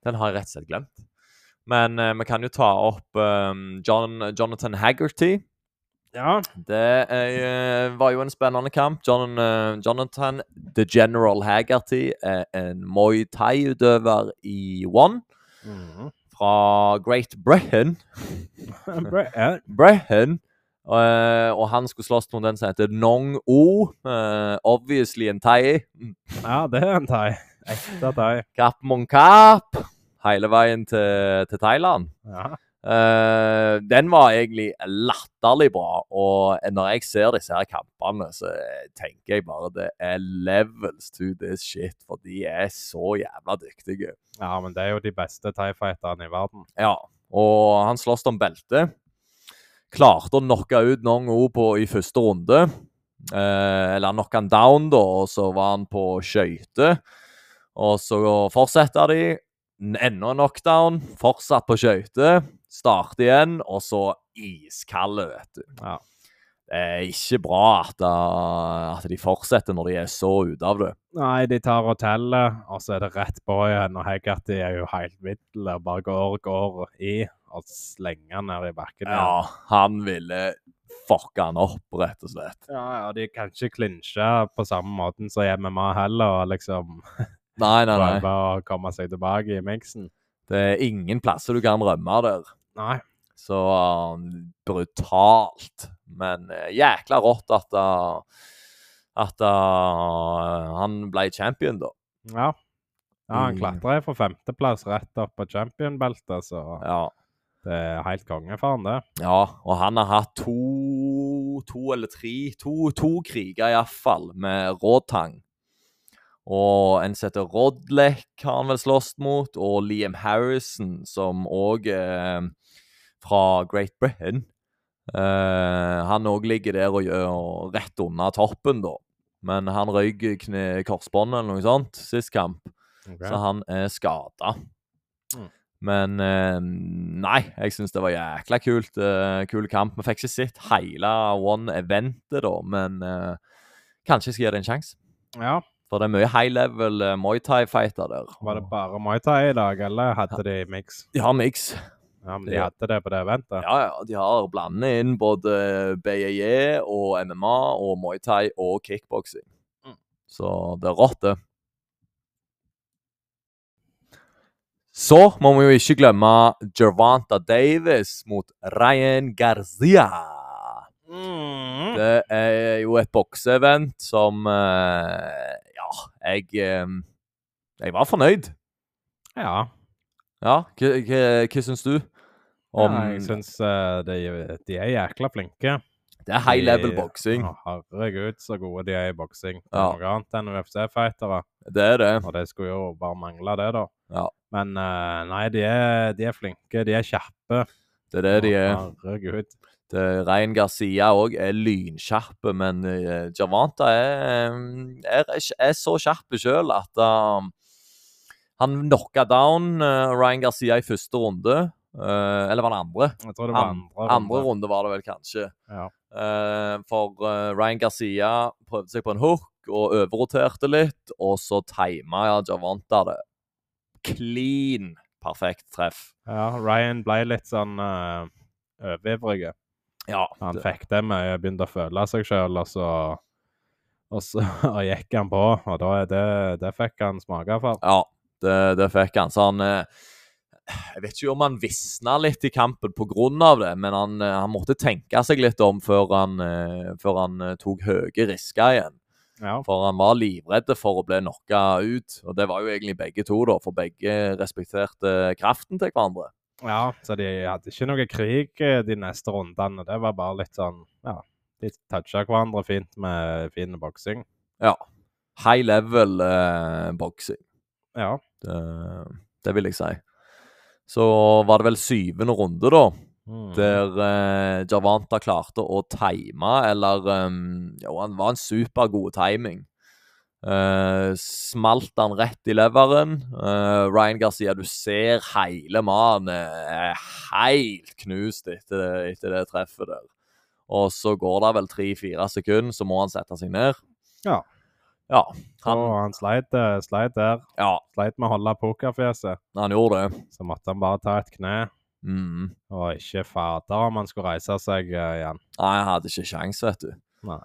[SPEAKER 1] Den har jeg rett og slett glemt. Men eh, vi kan jo ta opp eh, John, Jonathan Haggerty.
[SPEAKER 2] Ja.
[SPEAKER 1] Det eh, var jo en spennende kamp. John, eh, Jonathan The General Haggerty er en Muay Thai-utøver i One
[SPEAKER 2] Mhm.
[SPEAKER 1] fra Great Britain.
[SPEAKER 2] Bra- ja,
[SPEAKER 1] Brehan. eh, og han skulle slåss mot den som heter Nong O. eh, obviously en thai.
[SPEAKER 2] Ja, det er en thai. Ekte thai.
[SPEAKER 1] Kap mon kap. Hele veien til, til Thailand.
[SPEAKER 2] Ja.
[SPEAKER 1] Eh, den var egentlig latterlig bra. Og når jeg ser disse her kampene, så tenker jeg bare det er levels to this shit. For de er så jævla dyktige.
[SPEAKER 2] ja, men det er jo de beste thai-fighterne i verden.
[SPEAKER 1] Ja, og han slåss om beltet. Klarte å knocke ut Nong O på, i første runde. Eh, eller han knocka han down, da, og så var han på skøyter. Og så fortsetter de. N- Enda en knockdown. Fortsatt på skøyter. Starte igjen, og så iskalde, vet du.
[SPEAKER 2] Ja.
[SPEAKER 1] Det er ikke bra at, eh, at de fortsetter når de er så ute av det.
[SPEAKER 2] Nei, de tar og teller, og så er det rett på igjen. Og Haggerty er jo helt viddel og bare går, går i og slenger ned i bakken. igjen.
[SPEAKER 1] Ja, han ville fucke han opp, rett og slett.
[SPEAKER 2] ja, ja, de kan ikke klinsje på samme måten som MMA heller, og liksom
[SPEAKER 1] Nei, nei, nei.
[SPEAKER 2] prøve å komme seg tilbake i miksen.
[SPEAKER 1] Det er ingen plasser du kan rømme der.
[SPEAKER 2] Nei.
[SPEAKER 1] Så uh, brutalt. Men uh, jækla rått at, uh, at uh, han ble champion, da.
[SPEAKER 2] Ja. Ja, han
[SPEAKER 1] Mm.
[SPEAKER 2] klatrer fra femteplass rett opp på championbeltet, så
[SPEAKER 1] Ja.
[SPEAKER 2] det er helt konge for han, det.
[SPEAKER 1] ja og han har hatt to, to eller tre To, to kriger, iallfall, med Råtang. Og en som heter Rodlek, har han vel slåss mot. Og Liam Harrison, som òg er fra Great Britain. Eh, han òg ligger der og gjør rett unna toppen, da. Men han røyk kne- korsbåndet eller noe sånt sist kamp.
[SPEAKER 2] Ok.
[SPEAKER 1] Så han er skada.
[SPEAKER 2] Mm.
[SPEAKER 1] Men eh, nei, jeg syns det var jækla kult. eh, kul kamp. Vi fikk ikke sett hele One Eventet, da, men eh, kanskje jeg skal gi det en sjanse.
[SPEAKER 2] Ja.
[SPEAKER 1] For det er mye high level eh, Muay Thai-fighter der.
[SPEAKER 2] Var det bare Muay Thai i dag, eller hadde de mix?
[SPEAKER 1] De har miks.
[SPEAKER 2] Ja, men de hadde det på det eventet.
[SPEAKER 1] Ja, ja. De har blandet inn både BJJ og MMA og Muay Thai og kickboksing.
[SPEAKER 2] Mm.
[SPEAKER 1] Så det er rått, det. Så må vi jo ikke glemme Gervanta Davis mot Ryan Garcia.
[SPEAKER 2] Mm.
[SPEAKER 1] Det er jo et bokseevent som eh, Ja, jeg eh, Jeg var fornøyd.
[SPEAKER 2] Ja.
[SPEAKER 1] Ja, hva, hva, hva syns du? Om
[SPEAKER 2] ja jeg syns eh, de, de er jækla flinke.
[SPEAKER 1] Det er high level
[SPEAKER 2] de-
[SPEAKER 1] boksing.
[SPEAKER 2] Å, herregud, så gode de er i boksing. Det
[SPEAKER 1] Ja.
[SPEAKER 2] er Noe annet enn UFC-fightere.
[SPEAKER 1] Det er det.
[SPEAKER 2] Og det skulle jo bare mangle, det, da.
[SPEAKER 1] Ja.
[SPEAKER 2] Men eh, nei, de er, de er flinke. De er kjappe.
[SPEAKER 1] Det er det de er.
[SPEAKER 2] Å, Herregud.
[SPEAKER 1] Det, Rein Garcia òg er lynkjapp, men eh, Javanta er, eh, er, er så kjapp sjøl at um, han knocka down eh, Ryan Garcia i første runde. eh, eller var det andre?
[SPEAKER 2] Jeg tror det var
[SPEAKER 1] An-
[SPEAKER 2] andre.
[SPEAKER 1] Andre runde var det vel kanskje.
[SPEAKER 2] Ja.
[SPEAKER 1] Eh, for eh, Ryan Garcia prøvde seg på en hook og overroterte litt, og så tima ja, Javanta det. Clean perfekt treff.
[SPEAKER 2] ja, Ryan ble litt sånn uh, overivrig.
[SPEAKER 1] Ja.
[SPEAKER 2] Han
[SPEAKER 1] det-
[SPEAKER 2] fikk det med å begynne å føle seg sjøl, og så og så gikk han på, og da er det, det fikk han smake for.
[SPEAKER 1] Ja, det, det fikk han. Så han eh, Jeg vet ikke om han visna litt i kampen pga. det, men han, eh, han måtte tenke seg litt om før han, eh, før han eh, tok høye risker igjen.
[SPEAKER 2] Ja,
[SPEAKER 1] For han var livredd for å bli knocka ut, og det var jo egentlig begge to, da, for begge respekterte kraften til hverandre.
[SPEAKER 2] ja så de hadde ikke noe krig eh, de neste rundene. Det var bare litt sånn Ja, de toucha hverandre fint med fin boksing.
[SPEAKER 1] High level eh, boksing.
[SPEAKER 2] Ja.
[SPEAKER 1] Det, det vil jeg si. Så var det vel syvende runde, da.
[SPEAKER 2] Mm.
[SPEAKER 1] der eh, Javanta klarte å time, eller um, Jo, han var en supergod timing. Eh, smalt han rett i leveren. Eh, Ryan Garcia, du ser hele mannen er helt knust etter det, etter det treffet der. Og så går det vel tre-fire sekunder, så må han sette seg ned.
[SPEAKER 2] Ja.
[SPEAKER 1] Ja, han,
[SPEAKER 2] Og han sleit, eh, sleit der.
[SPEAKER 1] ja,
[SPEAKER 2] Sleit med å holde pokerfjeset.
[SPEAKER 1] han gjorde det.
[SPEAKER 2] Så måtte han bare ta et kne.
[SPEAKER 1] Mm.
[SPEAKER 2] Og ikke fader om han skulle reise seg eh, igjen.
[SPEAKER 1] Nei, han hadde ikke sjans, vet du.
[SPEAKER 2] Nei.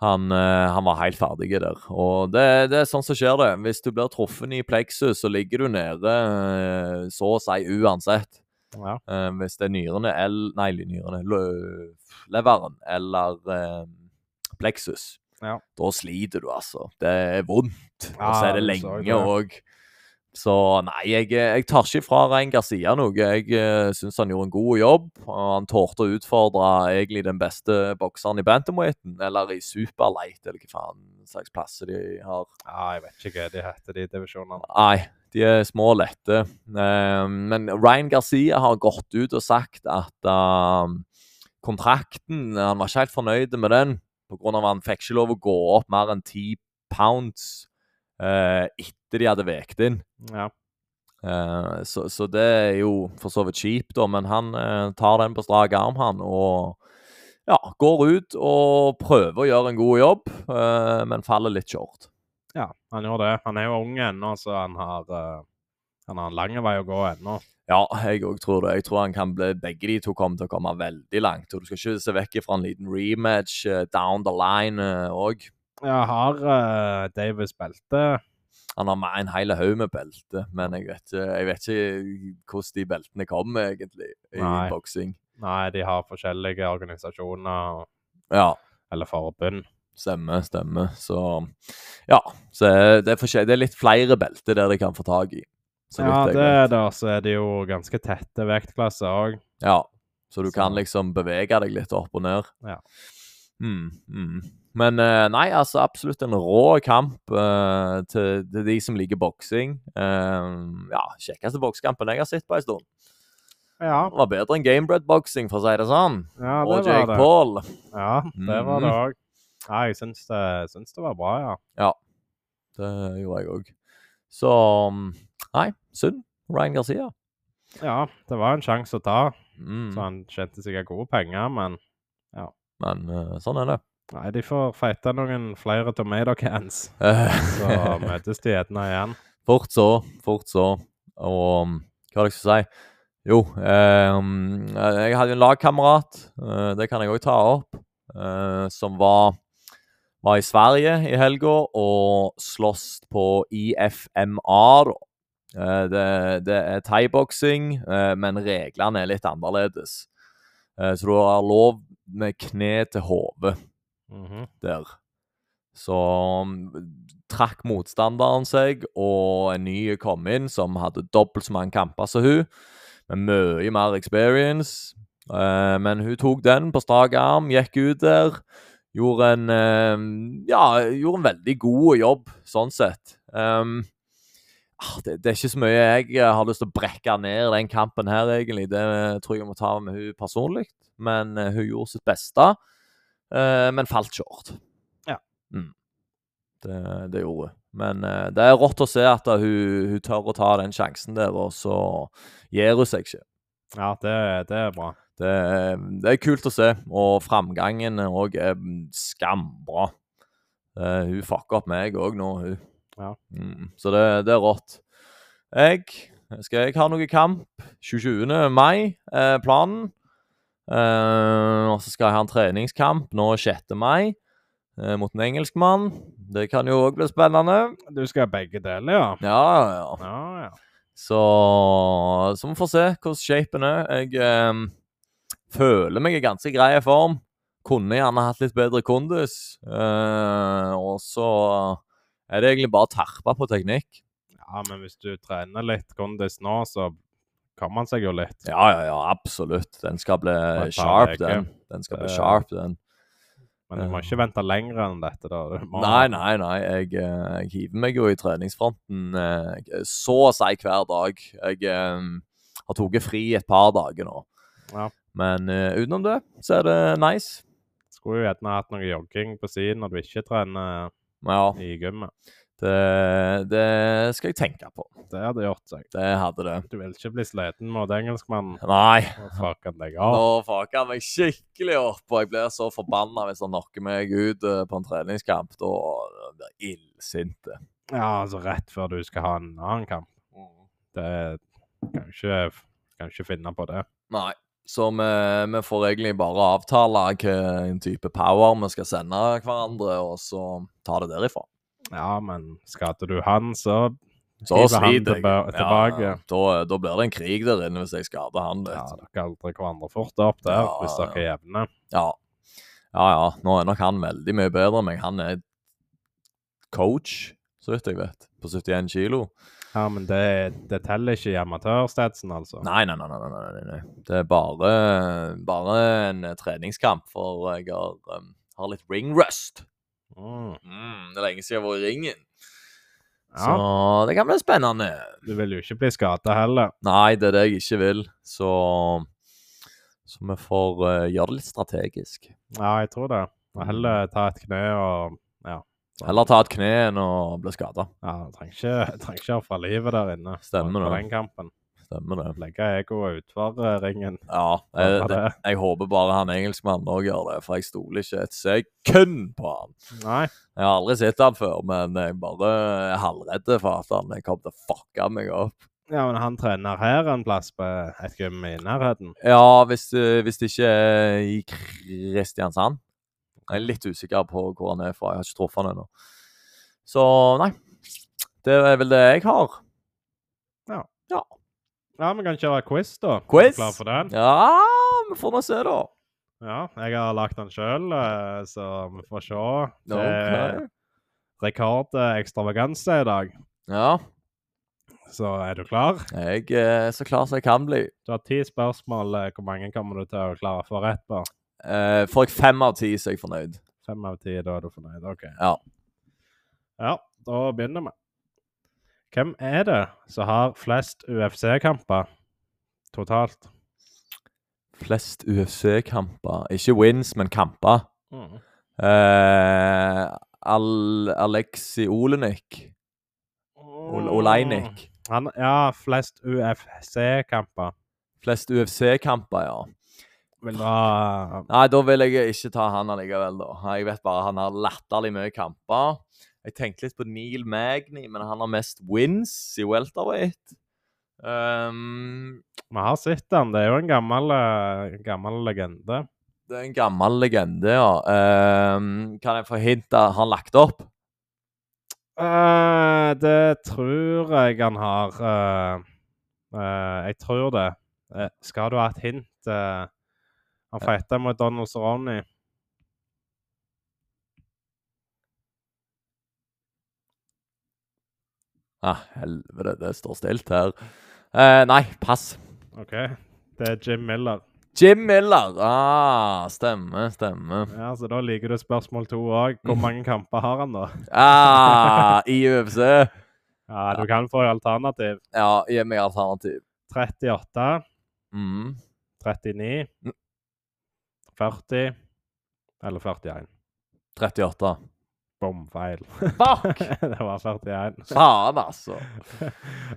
[SPEAKER 1] Han, eh, han var helt ferdig der. Og det, det er sånn som skjer, det. Hvis du blir truffet i pleksus, så ligger du nede eh, så å si uansett.
[SPEAKER 2] Ja.
[SPEAKER 1] Eh, hvis det er nyrene eller Nei, nyrene lø- Leveren eller eh, pleksus.
[SPEAKER 2] Ja.
[SPEAKER 1] Da sliter du, altså. Det er vondt. og
[SPEAKER 2] Ja,
[SPEAKER 1] så er det
[SPEAKER 2] jeg så det.
[SPEAKER 1] lenge òg. Så nei, jeg, eh, jeg tar ikke fra Rein Garcia noe. Jeg uh, syns han gjorde en god jobb. og Han tålte å utfordre egentlig den beste bokseren i bantamweighten, eller i superlight, eller hva faen slags plasser de har.
[SPEAKER 2] ja, jeg vet ikke hva de heter, de divisjonene.
[SPEAKER 1] Nei, de er små og lette. Eh, men Ryan Garcia har gått ut og sagt at eh, kontrakten Han var ikke helt fornøyd med den pga. at han fikk ikke lov å gå opp mer enn ti pounds eh, etter de hadde vekt inn.
[SPEAKER 2] Ja.
[SPEAKER 1] Eh, så, så det er jo for så vidt kjipt, da, men han eh, tar den på strak arm, han, og ja, går ut og prøver å gjøre en god jobb, eh, men faller litt short.
[SPEAKER 2] ja, han gjorde det. Han er jo ung ennå, så han har, eh, han har en lang vei å gå ennå.
[SPEAKER 1] Ja, jeg òg tror det. Jeg tror han kan bli, begge de to kommer til å komme veldig langt. Og du skal ikke se vekk fra en liten rematch eh, down the line eh, òg.
[SPEAKER 2] Ja, har eh, Davis belte?
[SPEAKER 1] han har med en hel haug med belte, men jeg vet, ikke- jeg vet ikke hvordan de beltene kommer, egentlig, i
[SPEAKER 2] Nei.
[SPEAKER 1] boksing.
[SPEAKER 2] Nei, de har forskjellige organisasjoner og-
[SPEAKER 1] Ja,
[SPEAKER 2] eller forbund.
[SPEAKER 1] stemmer, stemmer. Så ja. Så det er, forskjell- det er litt flere belter der de kan få tak i. Så
[SPEAKER 2] Ja,
[SPEAKER 1] vidt
[SPEAKER 2] det
[SPEAKER 1] jeg vet.
[SPEAKER 2] er det. Så er det jo ganske tette vektklasser òg.
[SPEAKER 1] Ja, så du
[SPEAKER 2] Så-
[SPEAKER 1] kan liksom bevege deg litt opp og ned.
[SPEAKER 2] Ja.
[SPEAKER 1] Mm, mm. Men eh, nei, altså absolutt en rå kamp eh, til, til de som liker boksing. Eh, ja, kjekkeste boksekampen jeg har sett på en stund.
[SPEAKER 2] Ja,
[SPEAKER 1] Det var bedre enn gamebred-boksing, for å si det sånn.
[SPEAKER 2] ja,
[SPEAKER 1] og
[SPEAKER 2] det var
[SPEAKER 1] Jake
[SPEAKER 2] det.
[SPEAKER 1] Paul.
[SPEAKER 2] Ja, det var det
[SPEAKER 1] Mhm.
[SPEAKER 2] òg. Ja, jeg syns det, syns det var bra, ja.
[SPEAKER 1] Det gjorde jeg òg. Så mm, Nei, synd. Ryan Garcia.
[SPEAKER 2] Ja, det var en sjanse å ta.
[SPEAKER 1] Mm.
[SPEAKER 2] Så han tjente sikkert gode penger, men
[SPEAKER 1] Men eh, sånn er det.
[SPEAKER 2] nei, de får feite noen flere tomato cans. Så
[SPEAKER 1] Eh,
[SPEAKER 2] møtes de gjerne igjen.
[SPEAKER 1] Fort så, fort så. Og um, hva var det jeg skulle si? Jo, ehm, jeg hadde en lagkamerat, eh, det kan jeg òg ta opp, eh, som var, var i Sverige i helga og sloss på IFMA. da. Eh, det, det er thaiboksing, eh, men reglene er litt annerledes. Eh, så du har lov med kne til hode.
[SPEAKER 2] Mhm.
[SPEAKER 1] der. Så mm, trakk motstanderen seg, og en ny kom inn som hadde dobbelt så mange kamper som hun, med mye mer experience. Eh, men hun tok den på strak arm, gikk ut der. Gjorde en eh, Ja, gjorde en veldig god jobb, sånn sett. Ehm, ah, det, det er ikke så mye jeg eh, har lyst til å brekke ned den kampen her, egentlig. Det tror jeg jeg må ta med hun personlig. Men eh, hun gjorde sitt beste, eh, men falt short. Det, det gjorde hun. Men eh, det er rått å se at da hun, hun tør å ta den sjansen der, og så gir hun seg ikke.
[SPEAKER 2] Ja, det, det er bra.
[SPEAKER 1] Det, er- det er kult å se, og framgangen òg er mm, skambra. Eh, hun fucker opp meg òg nå, hun.
[SPEAKER 2] Ja.
[SPEAKER 1] Mm, så det, det er rått. Jeg skal jeg ha noe kamp 27. mai, eh, planen. Eh, og så skal jeg ha en treningskamp nå 6. mai eh, mot en engelskmann. Det kan jo òg bli spennende.
[SPEAKER 2] Du skal ha begge deler, ja?
[SPEAKER 1] Ja, ja. ja.
[SPEAKER 2] Ja, ja.
[SPEAKER 1] Så, så vi får se hvordan shapen er. Jeg ehm, føler meg i ganske grei form. Kunne gjerne hatt litt bedre kondis. Eh, og så er det egentlig bare å terpe på teknikk.
[SPEAKER 2] ja, men hvis du trener litt kondis nå, så kan man seg jo litt.
[SPEAKER 1] Ja, ja, ja, absolutt. Den skal bli
[SPEAKER 2] et par
[SPEAKER 1] sharp,
[SPEAKER 2] veker.
[SPEAKER 1] den. Den skal bli
[SPEAKER 2] Det-
[SPEAKER 1] sharp, den.
[SPEAKER 2] Men du må ikke vente lenger enn dette, da. Du må-
[SPEAKER 1] Nei, nei, nei. Jeg, eh, jeg hiver meg jo i treningsfronten eh, så å si hver dag. Jeg eh, har tatt fri et par dager nå.
[SPEAKER 2] Ja.
[SPEAKER 1] Men eh, utenom det, så er det nice.
[SPEAKER 2] Skulle jo gjerne hatt noe jogging på siden når du ikke trener
[SPEAKER 1] Ja,
[SPEAKER 2] i gymmet.
[SPEAKER 1] det, det skal jeg tenke på.
[SPEAKER 2] Det hadde gjort seg.
[SPEAKER 1] Det hadde det.
[SPEAKER 2] Du vil ikke bli sliten mot engelskmannen.
[SPEAKER 1] Nei,
[SPEAKER 2] Å, Fuck han deg
[SPEAKER 1] nå
[SPEAKER 2] av.
[SPEAKER 1] fucker han meg skikkelig opp, og jeg blir så forbanna hvis han knocker meg ut eh, på en treningskamp. Da blir jeg illsint.
[SPEAKER 2] Ja, altså rett før du skal ha en annen kamp. Det kan jo ikke, kan jo ikke finne på det.
[SPEAKER 1] Nei. Så vi, vi får egentlig bare avtale hvilken type power vi skal sende hverandre, og så ta det derifra.
[SPEAKER 2] Ja, men skader du han, så
[SPEAKER 1] Så
[SPEAKER 2] Skriver han
[SPEAKER 1] sliter jeg.
[SPEAKER 2] tilba- tilbake.
[SPEAKER 1] Ja, da, da blir det en krig der inne hvis jeg skader han litt.
[SPEAKER 2] ja, dere aldri hverandre fort opp der
[SPEAKER 1] Ja,
[SPEAKER 2] hvis dere er jevne.
[SPEAKER 1] Ja. ja, ja. Nå er nok han veldig mye bedre enn meg. Han er coach, så vidt jeg vet, på 71 kilo.
[SPEAKER 2] Ja, men det, det teller ikke i amatørstatsen, altså.
[SPEAKER 1] Nei, nei, nei. nei, nei, nei, nei. Det er bare, bare en eh, treningskamp, for jeg har, um, har litt ring rust.
[SPEAKER 2] Mm.
[SPEAKER 1] Mm, det er lenge siden jeg har vært i ringen,
[SPEAKER 2] Ja,
[SPEAKER 1] så det kan bli spennende.
[SPEAKER 2] du vil jo ikke bli skada heller.
[SPEAKER 1] Nei, det er det jeg ikke vil, så så vi får eh, gjøre det litt strategisk.
[SPEAKER 2] Ja, jeg tror det. Og Heller ta et kne og
[SPEAKER 1] Mm. Heller ta et kne enn å bli skada.
[SPEAKER 2] Ja, trenger ikke, trenger ikke ofre livet der inne.
[SPEAKER 1] Stemmer
[SPEAKER 2] På
[SPEAKER 1] det.
[SPEAKER 2] den kampen.
[SPEAKER 1] Stemmer det.
[SPEAKER 2] Legge egoet utfor eh, ringen.
[SPEAKER 1] Ja, jeg,
[SPEAKER 2] Håper
[SPEAKER 1] det,
[SPEAKER 2] det.
[SPEAKER 1] jeg håper bare han engelskmannen òg gjør det, for jeg stoler ikke et sekund på han.
[SPEAKER 2] Nei.
[SPEAKER 1] Jeg har aldri sett han før, men jeg bare er halvredd for at han kommer til å fucke meg opp.
[SPEAKER 2] Ja, men han trener her en plass på et gym i nærheten.
[SPEAKER 1] Ja, hvis, eh, hvis det ikke er i Kristiansand. Jeg er litt usikker på hvor han er fra, jeg har ikke truffet han ennå. Så nei, det er vel det jeg har.
[SPEAKER 2] Ja, vi kan kjøre quiz, da. Er
[SPEAKER 1] Quiz?
[SPEAKER 2] du Klar for den?
[SPEAKER 1] Ja, vi får nå se, da.
[SPEAKER 2] Ja, jeg har lagt den sjøl, så vi får se. Det er
[SPEAKER 1] Ok.
[SPEAKER 2] rekordekstravaganse i dag,
[SPEAKER 1] Ja,
[SPEAKER 2] så er du klar?
[SPEAKER 1] jeg er så klar som jeg kan bli.
[SPEAKER 2] Du har ti spørsmål. eh, Hvor mange kommer du til å klare å få rett på?
[SPEAKER 1] Eh, Får jeg fem av ti, så er jeg fornøyd.
[SPEAKER 2] Fem av ti, da er du fornøyd? OK.
[SPEAKER 1] Ja.
[SPEAKER 2] Ja, da begynner vi. Hvem er det som har flest UFC-kamper totalt?
[SPEAKER 1] Flest UFC-kamper. Ikke wins, men kamper.
[SPEAKER 2] Mm.
[SPEAKER 1] Eh, Al Alexi Olenik. Ol Oleinik.
[SPEAKER 2] Han, ja, flest UFC-kamper.
[SPEAKER 1] Flest UFC-kamper, ja.
[SPEAKER 2] Vil du ha
[SPEAKER 1] Nei, da vil jeg ikke ta han allikevel, da. Jeg vet bare han har latterlig mye kamper. Jeg tenkte litt på Neil Magny, men han har mest wins i welterweight. Ehm,
[SPEAKER 2] Vi har sett han. Det er jo en gammel, eh, gammel legende.
[SPEAKER 1] det er en gammel legende, ja. Ehm, kan jeg få hint av han lagt opp?
[SPEAKER 2] Eh, det tror jeg han har. eh, eh, jeg tror det. Eh, skal du ha et hint? eh, han fighta mot Donald Cerrone.
[SPEAKER 1] Ah, helvete, det står stilt her. Eh, nei, pass.
[SPEAKER 2] OK. Det er Jim Miller.
[SPEAKER 1] Jim Miller. Ah, stemmer, stemmer.
[SPEAKER 2] Ja, Så da liker du spørsmål to òg. Hvor mange kamper har han, da?
[SPEAKER 1] Ah, I UFC.
[SPEAKER 2] Ja, Du kan få alternativ.
[SPEAKER 1] Ja, gi meg alternativ.
[SPEAKER 2] 38,
[SPEAKER 1] Mm.
[SPEAKER 2] 39, 40 eller 41.
[SPEAKER 1] 38.
[SPEAKER 2] Bomfeil.
[SPEAKER 1] Fuck!
[SPEAKER 2] det var 41.
[SPEAKER 1] Faen, altså.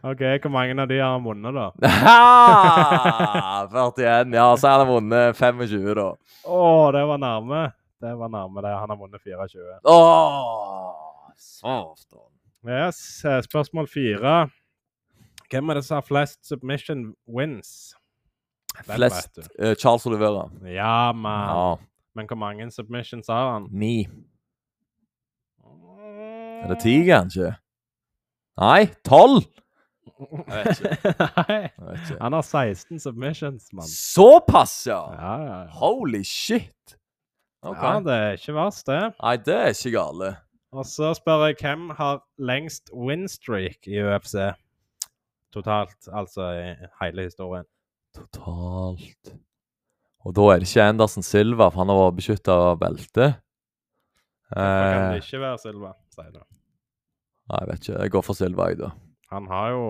[SPEAKER 2] OK, hvor mange av de har han vunnet, da?
[SPEAKER 1] Ah, 41. Ja, så har han vunnet 25, da.
[SPEAKER 2] Å, det var nærme. Det var nærme, det. Han har vunnet 24.
[SPEAKER 1] Åh, satan.
[SPEAKER 2] Yes, eh, spørsmål fire. Hvem er det som har flest submission wins? Den
[SPEAKER 1] Flest
[SPEAKER 2] vet
[SPEAKER 1] eh, Charles Olivera.
[SPEAKER 2] du. Ja, mann.
[SPEAKER 1] Ja.
[SPEAKER 2] Men hvor mange submissions har han?
[SPEAKER 1] Ni. Eller ti, kanskje? Nei, tolv! Jeg vet ikke.
[SPEAKER 2] Nei.
[SPEAKER 1] Jeg vet ikke.
[SPEAKER 2] Han har 16 submissions, mann.
[SPEAKER 1] Såpass, ja!
[SPEAKER 2] Ja, ja, ja.
[SPEAKER 1] Holy shit! OK.
[SPEAKER 2] ja, det er ikke verst, det.
[SPEAKER 1] Nei, det er ikke gale.
[SPEAKER 2] Og så spør jeg hvem har lengst winstreak i UFC? Totalt, altså i hele historien.
[SPEAKER 1] Totalt. Og da er det ikke Anderson Silva, for han har vært beskytta av beltet.
[SPEAKER 2] Hvorfor kan det
[SPEAKER 1] Eh,
[SPEAKER 2] ikke være Silva, sier du?
[SPEAKER 1] nei, jeg vet ikke. Jeg går for Silva, jeg, da.
[SPEAKER 2] Han har jo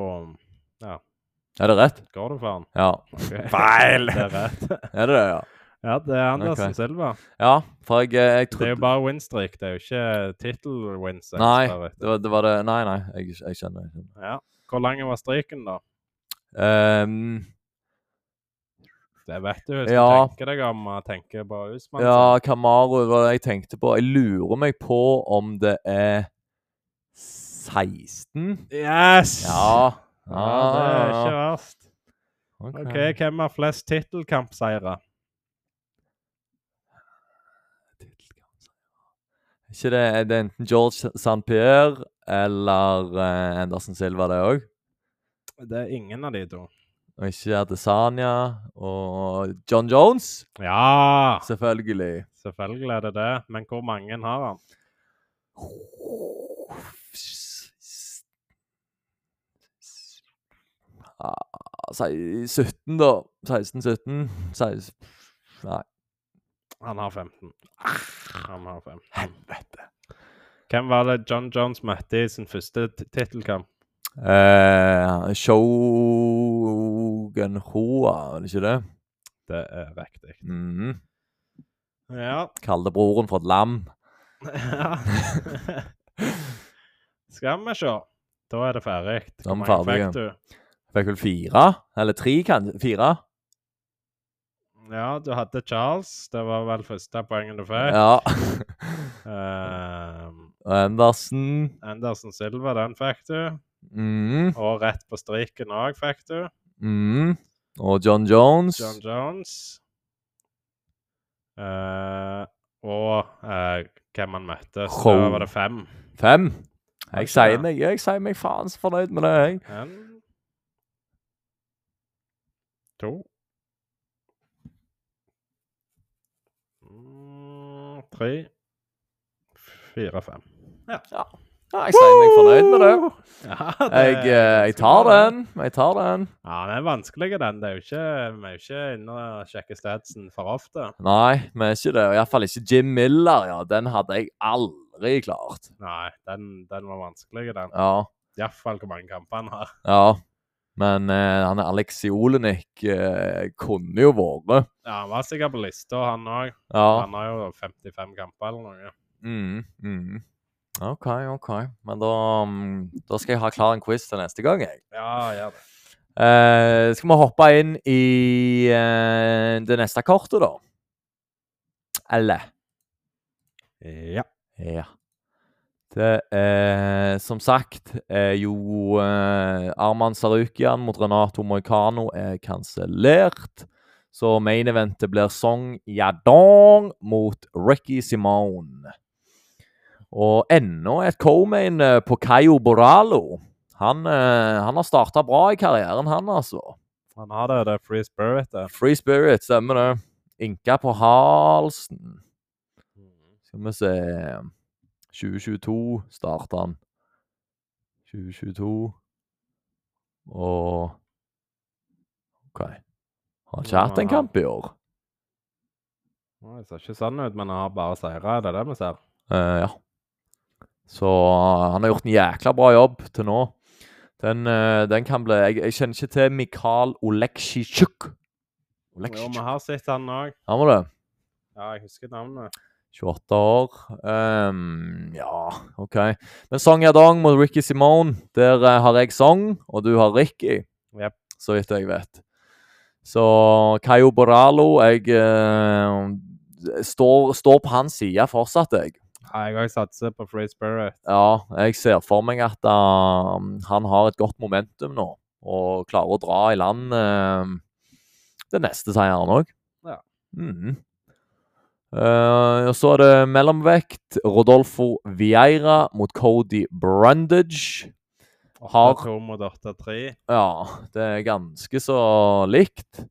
[SPEAKER 1] Er det rett?
[SPEAKER 2] Går du for han?
[SPEAKER 1] Ja.
[SPEAKER 2] Ok.
[SPEAKER 1] Feil!
[SPEAKER 2] Det er rett.
[SPEAKER 1] Er det det, ja?
[SPEAKER 2] Ja, det er Andersen
[SPEAKER 1] Ok.
[SPEAKER 2] Silva.
[SPEAKER 1] Ja, for jeg, eh, jeg
[SPEAKER 2] Det er
[SPEAKER 1] trodde
[SPEAKER 2] jo bare winstreak, det er jo ikke tittel-wins.
[SPEAKER 1] Nei, det var, det var det Nei, nei, jeg, jeg skjønner. Jeg skjønner.
[SPEAKER 2] Ja. Hvor lang var streaken, da?
[SPEAKER 1] Ehm,
[SPEAKER 2] Det vet du, hvis
[SPEAKER 1] Ja.
[SPEAKER 2] du tenker deg om og tenker på Usman.
[SPEAKER 1] ja, Kamaru var det jeg tenkte på. Jeg lurer meg på om det er 16?
[SPEAKER 2] så- Yes!
[SPEAKER 1] Ja. Ah.
[SPEAKER 2] ja det er ikke verst.
[SPEAKER 1] ok.
[SPEAKER 2] OK, hvem har flest tittelkampseire?
[SPEAKER 1] Ikke det, er det enten George St. Pierre eller eh, Andersen Silva, det òg?
[SPEAKER 2] Det er ingen av de to.
[SPEAKER 1] Og ikke Adesanya og John Jones?
[SPEAKER 2] Ja!
[SPEAKER 1] Selvfølgelig.
[SPEAKER 2] Selvfølgelig er det det, men hvor mange har han?
[SPEAKER 1] Ah, si 17, da. 16-17. 16. Nei,
[SPEAKER 2] Han har 15. Han har 15.
[SPEAKER 1] Ah, helvete.
[SPEAKER 2] Hvem var det John Jones møtte i sin første t- tittelkamp?
[SPEAKER 1] Eh, Shogun Hoa, er det ikke det?
[SPEAKER 2] Det er riktig.
[SPEAKER 1] Mhm.
[SPEAKER 2] Ja.
[SPEAKER 1] Kalte broren for et lam.
[SPEAKER 2] Ja. Skal vi se. Da er det ferdig.
[SPEAKER 1] Da er vi ferdige.
[SPEAKER 2] fikk du?
[SPEAKER 1] Fikk vel fire? Eller tre, kanskje? Fire?
[SPEAKER 2] Ja, du hadde Charles. Det var vel første poenget du fikk.
[SPEAKER 1] Ja.
[SPEAKER 2] Ehm,
[SPEAKER 1] Og Andersen
[SPEAKER 2] Andersen Silva, den fikk du.
[SPEAKER 1] mm,
[SPEAKER 2] Og rett på striken òg fikk du.
[SPEAKER 1] mm. Og John Jones.
[SPEAKER 2] John Jones. Eh, og eh, hvem han møtte. Så da var det fem.
[SPEAKER 1] Fem. Jeg
[SPEAKER 2] Ikke
[SPEAKER 1] sier
[SPEAKER 2] det.
[SPEAKER 1] meg jeg sier meg faen så fornøyd med det. jeg.
[SPEAKER 2] En To mm, Tre Fire, fem.
[SPEAKER 1] Ja, jeg sier meg fornøyd med det.
[SPEAKER 2] Ja,
[SPEAKER 1] Jeg, eh, jeg tar den. Jeg tar den.
[SPEAKER 2] Ja, den er vanskelig, den. Det er jo ikke, vi er jo ikke inne og sjekker statsen for ofte.
[SPEAKER 1] Nei, vi er ikke det. Iallfall ikke Jim Miller. ja. Den hadde jeg aldri klart.
[SPEAKER 2] Nei, den, den var vanskelig, den.
[SPEAKER 1] Ja.
[SPEAKER 2] Iallfall hvor mange kamper han har.
[SPEAKER 1] ja. Men eh, han Alexi Olenik eh, kunne jo vært.
[SPEAKER 2] Ja, Han var sikkert på lista, han òg.
[SPEAKER 1] Ja.
[SPEAKER 2] Han har jo 55 kamper eller noe.
[SPEAKER 1] Mm, mm. OK, OK. Men da, mm, da skal jeg ha klar en quiz til neste gang, jeg.
[SPEAKER 2] Ja, gjør det.
[SPEAKER 1] Eh, skal vi hoppe inn i eh, det neste kortet, da? Eller?
[SPEAKER 2] Ja.
[SPEAKER 1] Ja. Det er som sagt er jo eh, Arman Sarukian mot Renato Moicano er kansellert. Så main eventet blir Song Yadong mot Ricky Simone. Og enda et co-main eh, på Caio Boralo. Han, eh, han har starta bra i karrieren, han altså.
[SPEAKER 2] Han har det, det er Free Spirit, det.
[SPEAKER 1] Free spirit, stemmer det. Inka på halsen. Skal vi se 2022 starta han. 2022 og OK. Har han ikke hatt en kamp i år?
[SPEAKER 2] Å, Det ser ikke sånn ut, men han har bare seire. Det er det vi ser.
[SPEAKER 1] Eh, ja. Så eh, han har gjort en jækla bra jobb til nå. Den, eh, den kan bli Jeg, jeg kjenner ikke til Mikael Oleksijtsjuk.
[SPEAKER 2] Jo, vi
[SPEAKER 1] Oleksijtsjuk,
[SPEAKER 2] har sett han òg.
[SPEAKER 1] har vi det?
[SPEAKER 2] Ja, jeg husker navnet.
[SPEAKER 1] 28 år. Ehm, ja, OK. Men Song Yadong mot Ricky Simone, der eh, har jeg Song, og du har Ricky.
[SPEAKER 2] Jep.
[SPEAKER 1] Så vidt jeg vet. Så Caio Boralo Jeg eh, står, står på hans side fortsatt, jeg.
[SPEAKER 2] Ja, jeg òg satser på Free Spirit.
[SPEAKER 1] Ja, jeg ser for meg at um, han har et godt momentum nå, og klarer å dra i land um, den neste seieren òg.
[SPEAKER 2] Ja.
[SPEAKER 1] Mhm. Eh, og så er det mellomvekt. Rodolfo Vieira mot Cody Brundage. Har-
[SPEAKER 2] 8-2 mot 8-3.
[SPEAKER 1] Ja, det er ganske så likt.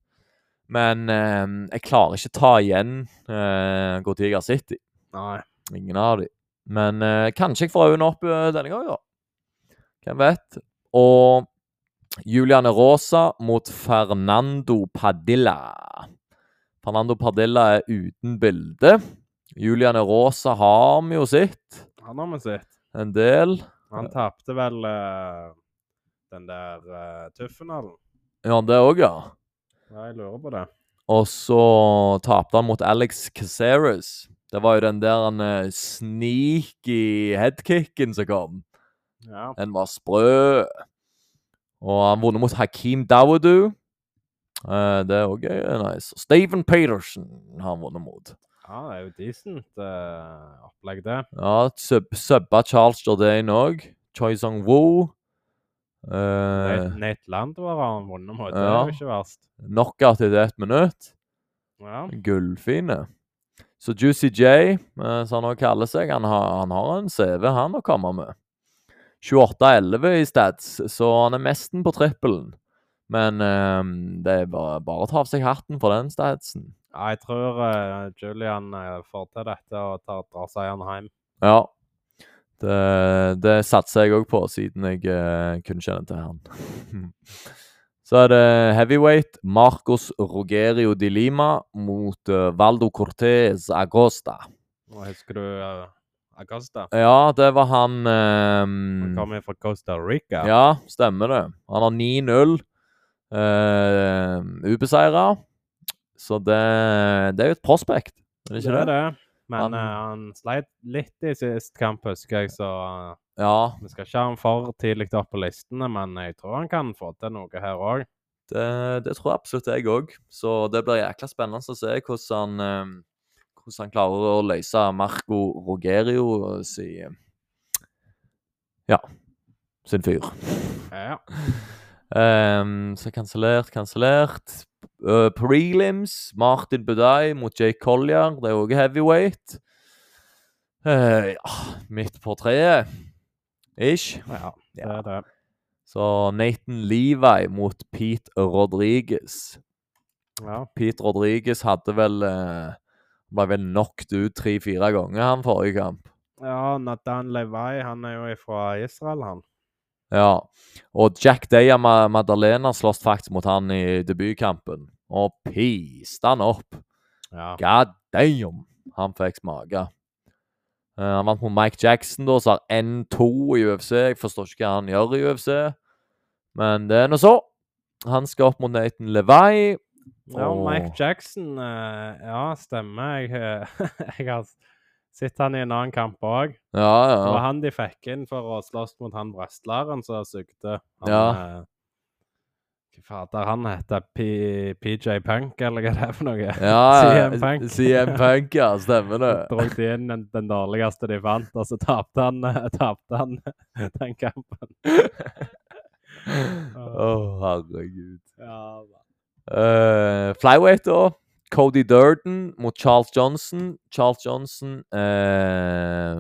[SPEAKER 1] Men eh, jeg klarer ikke ta igjen uh, Gotiga City.
[SPEAKER 2] Nei.
[SPEAKER 1] Ingen av de. Men eh, kanskje jeg får øynene opp eh, denne gangen, da. Hvem vet? Og Juliane Rosa mot Fernando Padilla. Fernando Padilla er uten bilde. Juliane Rosa har vi jo sett
[SPEAKER 2] Han har vi sett.
[SPEAKER 1] en del.
[SPEAKER 2] Han tapte vel eh, den der uh, Tuffenhallen.
[SPEAKER 1] Ja, det òg, ja.
[SPEAKER 2] Ja, jeg lurer på det.
[SPEAKER 1] Og så tapte han mot Alex Caceres. Det var jo den der eh, sneaky headkicken som kom.
[SPEAKER 2] Ja.
[SPEAKER 1] Den var sprø. Og han vunnet mot Hakeem Dawoodu. Eh, det er òg nice. Steven Peterson har han vunnet mot.
[SPEAKER 2] ja, det er jo decent eh, opplegg, det.
[SPEAKER 1] Ja, sub subba Charles Jordan òg. Choi Song Woo.
[SPEAKER 2] Nate
[SPEAKER 1] Uh,
[SPEAKER 2] Nate Landwehr har han vunnet mot. Det
[SPEAKER 1] Ja.
[SPEAKER 2] er jo ikke verst.
[SPEAKER 1] knockout etter ett minutt.
[SPEAKER 2] Ja.
[SPEAKER 1] Gullfine. Så Juicy J, eh, som han òg kaller seg, han har, han har en CV han å komme med. 28-11 i stats, så han er mesten på trippelen. Men eh, det er bare, bare å ta av seg hatten for den statsen.
[SPEAKER 2] Ja, jeg tror eh, Julian eh, får til dette og tar, drar seieren hjem.
[SPEAKER 1] Ja. Det, det satser jeg òg på, siden jeg eh, kunne kjenne til han. Så er det heavyweight Marcos Rogerio de Lima mot eh, Valdo Cortez Agosta.
[SPEAKER 2] Og husker du eh, Acosta?
[SPEAKER 1] Ja, det var han ehm,
[SPEAKER 2] Han kommer fra Costa Rica.
[SPEAKER 1] Ja, stemmer det. Han har 9-0 uh, ubeseira. Så det, det er jo et prospect, er det
[SPEAKER 2] det
[SPEAKER 1] ikke
[SPEAKER 2] er
[SPEAKER 1] det?
[SPEAKER 2] det. Men
[SPEAKER 1] Han-
[SPEAKER 2] eh, han sleit litt i sist kamp, husker jeg, så eh,
[SPEAKER 1] Ja,
[SPEAKER 2] vi skal ikke ha han for tidlig opp på listene, men jeg tror han kan få til noe her òg.
[SPEAKER 1] det, det tror jeg absolutt jeg òg. Så det blir jækla spennende å se hvordan han, ehm, hvordan han klarer å løse Marco Rogerio si Ja, sin fyr.
[SPEAKER 2] Ja.
[SPEAKER 1] Ehm, så kansellert, kansellert. Eh, prelims, Martin Budai mot Jake Collier. Det er òg heavyweight. Eh, ja, midt på treet. Ish.
[SPEAKER 2] ja, det
[SPEAKER 1] Ja.
[SPEAKER 2] er det.
[SPEAKER 1] Så Nathan Levi mot Pete Rodriguez.
[SPEAKER 2] Ja.
[SPEAKER 1] Pete Rodriguez hadde vel eh, Ble vel knocked ut tre-fire ganger, han forrige kamp.
[SPEAKER 2] ja, Nathan Levay, han er jo fra Israel, han.
[SPEAKER 1] Ja. Og Jack Deya Ma- Madalena slåss faktisk mot han i debutkampen. Og piste han opp.
[SPEAKER 2] Ja.
[SPEAKER 1] God damn! Han fikk smake. Eh, han vant mot Mike Jackson, da, så har N2 i UFC. Jeg forstår ikke hva han gjør i UFC, men det er nå så. Han skal opp mot Nathan Levi.
[SPEAKER 2] Ja, og Mike
[SPEAKER 1] Åh.
[SPEAKER 2] Jackson eh, Ja, stemmer. Jeg, eh, jeg har sett han i en annen kamp òg.
[SPEAKER 1] Ja,
[SPEAKER 2] Det var
[SPEAKER 1] ja.
[SPEAKER 2] han de fikk inn for å slåss mot han wrestleren som sugde. Han,
[SPEAKER 1] Ja.
[SPEAKER 2] eh, Hva fader han heter? P PJ Punk, eller hva det er for noe?
[SPEAKER 1] ja,
[SPEAKER 2] CM
[SPEAKER 1] ja.
[SPEAKER 2] Punk.
[SPEAKER 1] CM Punk, ja. Stemmer det.
[SPEAKER 2] Så Drog de inn den, den dårligste de fant, og så tapte han, eh, tapte han den kampen.
[SPEAKER 1] Å, herregud.
[SPEAKER 2] Ja, da.
[SPEAKER 1] Eh, flyweight, da. Cody Durden mot Charles Johnson. Charles Johnson eh,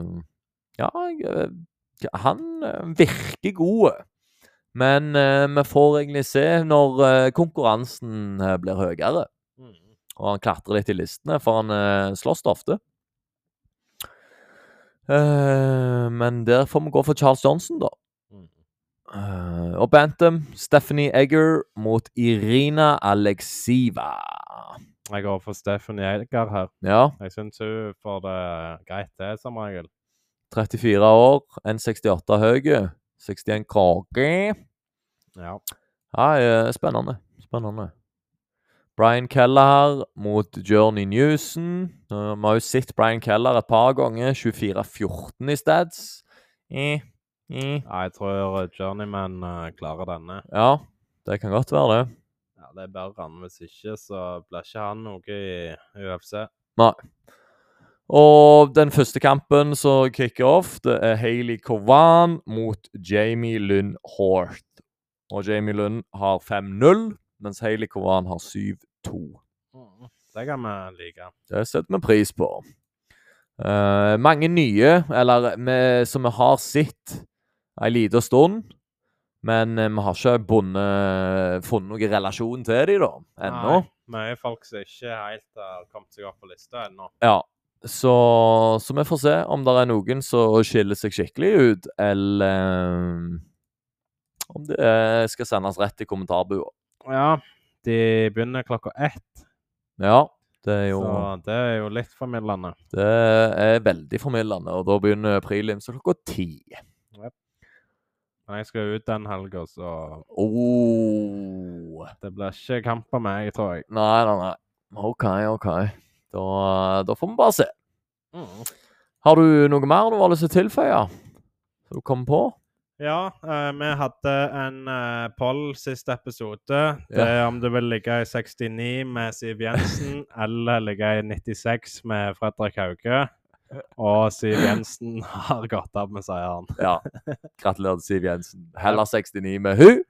[SPEAKER 1] Ja, jeg, eh, han eh, virker god. Men eh, vi får egentlig se når eh, konkurransen eh, blir høyere.
[SPEAKER 2] Mm.
[SPEAKER 1] Og han klatrer litt i listene, for han eh, slåss det ofte. Eh, men der får vi gå for Charles Johnson, da.
[SPEAKER 2] Mm.
[SPEAKER 1] Eh, og Bantam, Stephanie Egger mot Irina Alexiva.
[SPEAKER 2] Jeg går for Stephanie Edgar her.
[SPEAKER 1] Ja,
[SPEAKER 2] Jeg syns hun får det greit, det, som regel.
[SPEAKER 1] 34 år, 1,68 høy, 61 krage.
[SPEAKER 2] Ja.
[SPEAKER 1] Nei, eh, spennende. Spennende. Brian Keller mot Journey Newson. Eh, Vi har jo sett Brian Keller et par ganger. 24-14 i stats. Eh, eh.
[SPEAKER 2] Jeg tror Journeyman eh, klarer denne.
[SPEAKER 1] Ja, det kan godt være det.
[SPEAKER 2] Ja, Det bør han. Hvis ikke, så blir ikke han noe i UFC.
[SPEAKER 1] Og den første kampen som kicker off, det er Hayley Kovan mot Jamie Lund Horth. Og Jamie Lund har 5-0, mens Hayley Kovan har 7-2.
[SPEAKER 2] Mm, Det kan vi like.
[SPEAKER 1] Det setter vi pris på. Eh, mange nye, eller vi, som vi har sett ei lita stund. Men eh, vi har ikke bundet, funnet noen relasjon til dem, da. Ennå.
[SPEAKER 2] Nei, Mye folk som ikke helt har kommet seg opp på lista ennå.
[SPEAKER 1] Ja. Så, så vi får se om det er noen som skiller seg skikkelig ut, eller eh, om det eh, skal sendes rett til kommentarbua.
[SPEAKER 2] Ja, de begynner klokka ett,
[SPEAKER 1] Ja, det er jo
[SPEAKER 2] så det er jo litt formidlende.
[SPEAKER 1] Det er veldig formildende, og da begynner prelims klokka ti.
[SPEAKER 2] Men jeg skal ut den helga, så
[SPEAKER 1] Oh.
[SPEAKER 2] det blir ikke kamp av meg, tror jeg.
[SPEAKER 1] Nei, nei, nei. OK, OK. Da, da får vi bare se.
[SPEAKER 2] Mm.
[SPEAKER 1] Har du noe mer du har lyst til å tilføye? Som du kom på?
[SPEAKER 2] Ja, eh, vi hadde en eh, poll sist episode. Det er om du vil ligge i 69 med Siv Jensen, eller ligge i 96 med Fredrik Hauge. Og Siv Jensen har gått av med seieren.
[SPEAKER 1] Ja. Gratulerer til Siv Jensen. Heller 69 med hun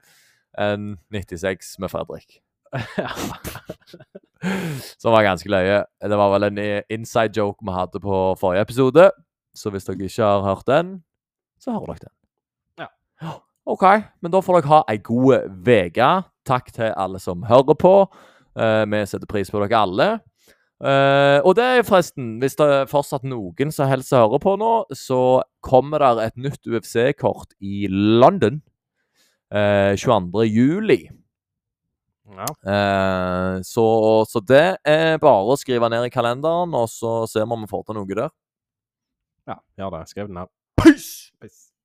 [SPEAKER 1] enn 96 med Fredrik. Som var ganske løye. Det var vel en i- inside joke vi hadde på forrige episode. Så hvis dere ikke har hørt den, så hører dere den.
[SPEAKER 2] Ja.
[SPEAKER 1] OK. Men da får dere ha ei god uke. Takk til alle som hører på. Eh, vi setter pris på dere alle. Eh, og det er forresten, hvis det er fortsatt noen som helst hører på nå, så kommer der et nytt UFC-kort i London eh, 22. juli.
[SPEAKER 2] Ja.
[SPEAKER 1] Eh, så, så det er bare å skrive ned i kalenderen, og så ser vi om vi får til noe der.
[SPEAKER 2] ja, gjør det. Skriv den her. Peace!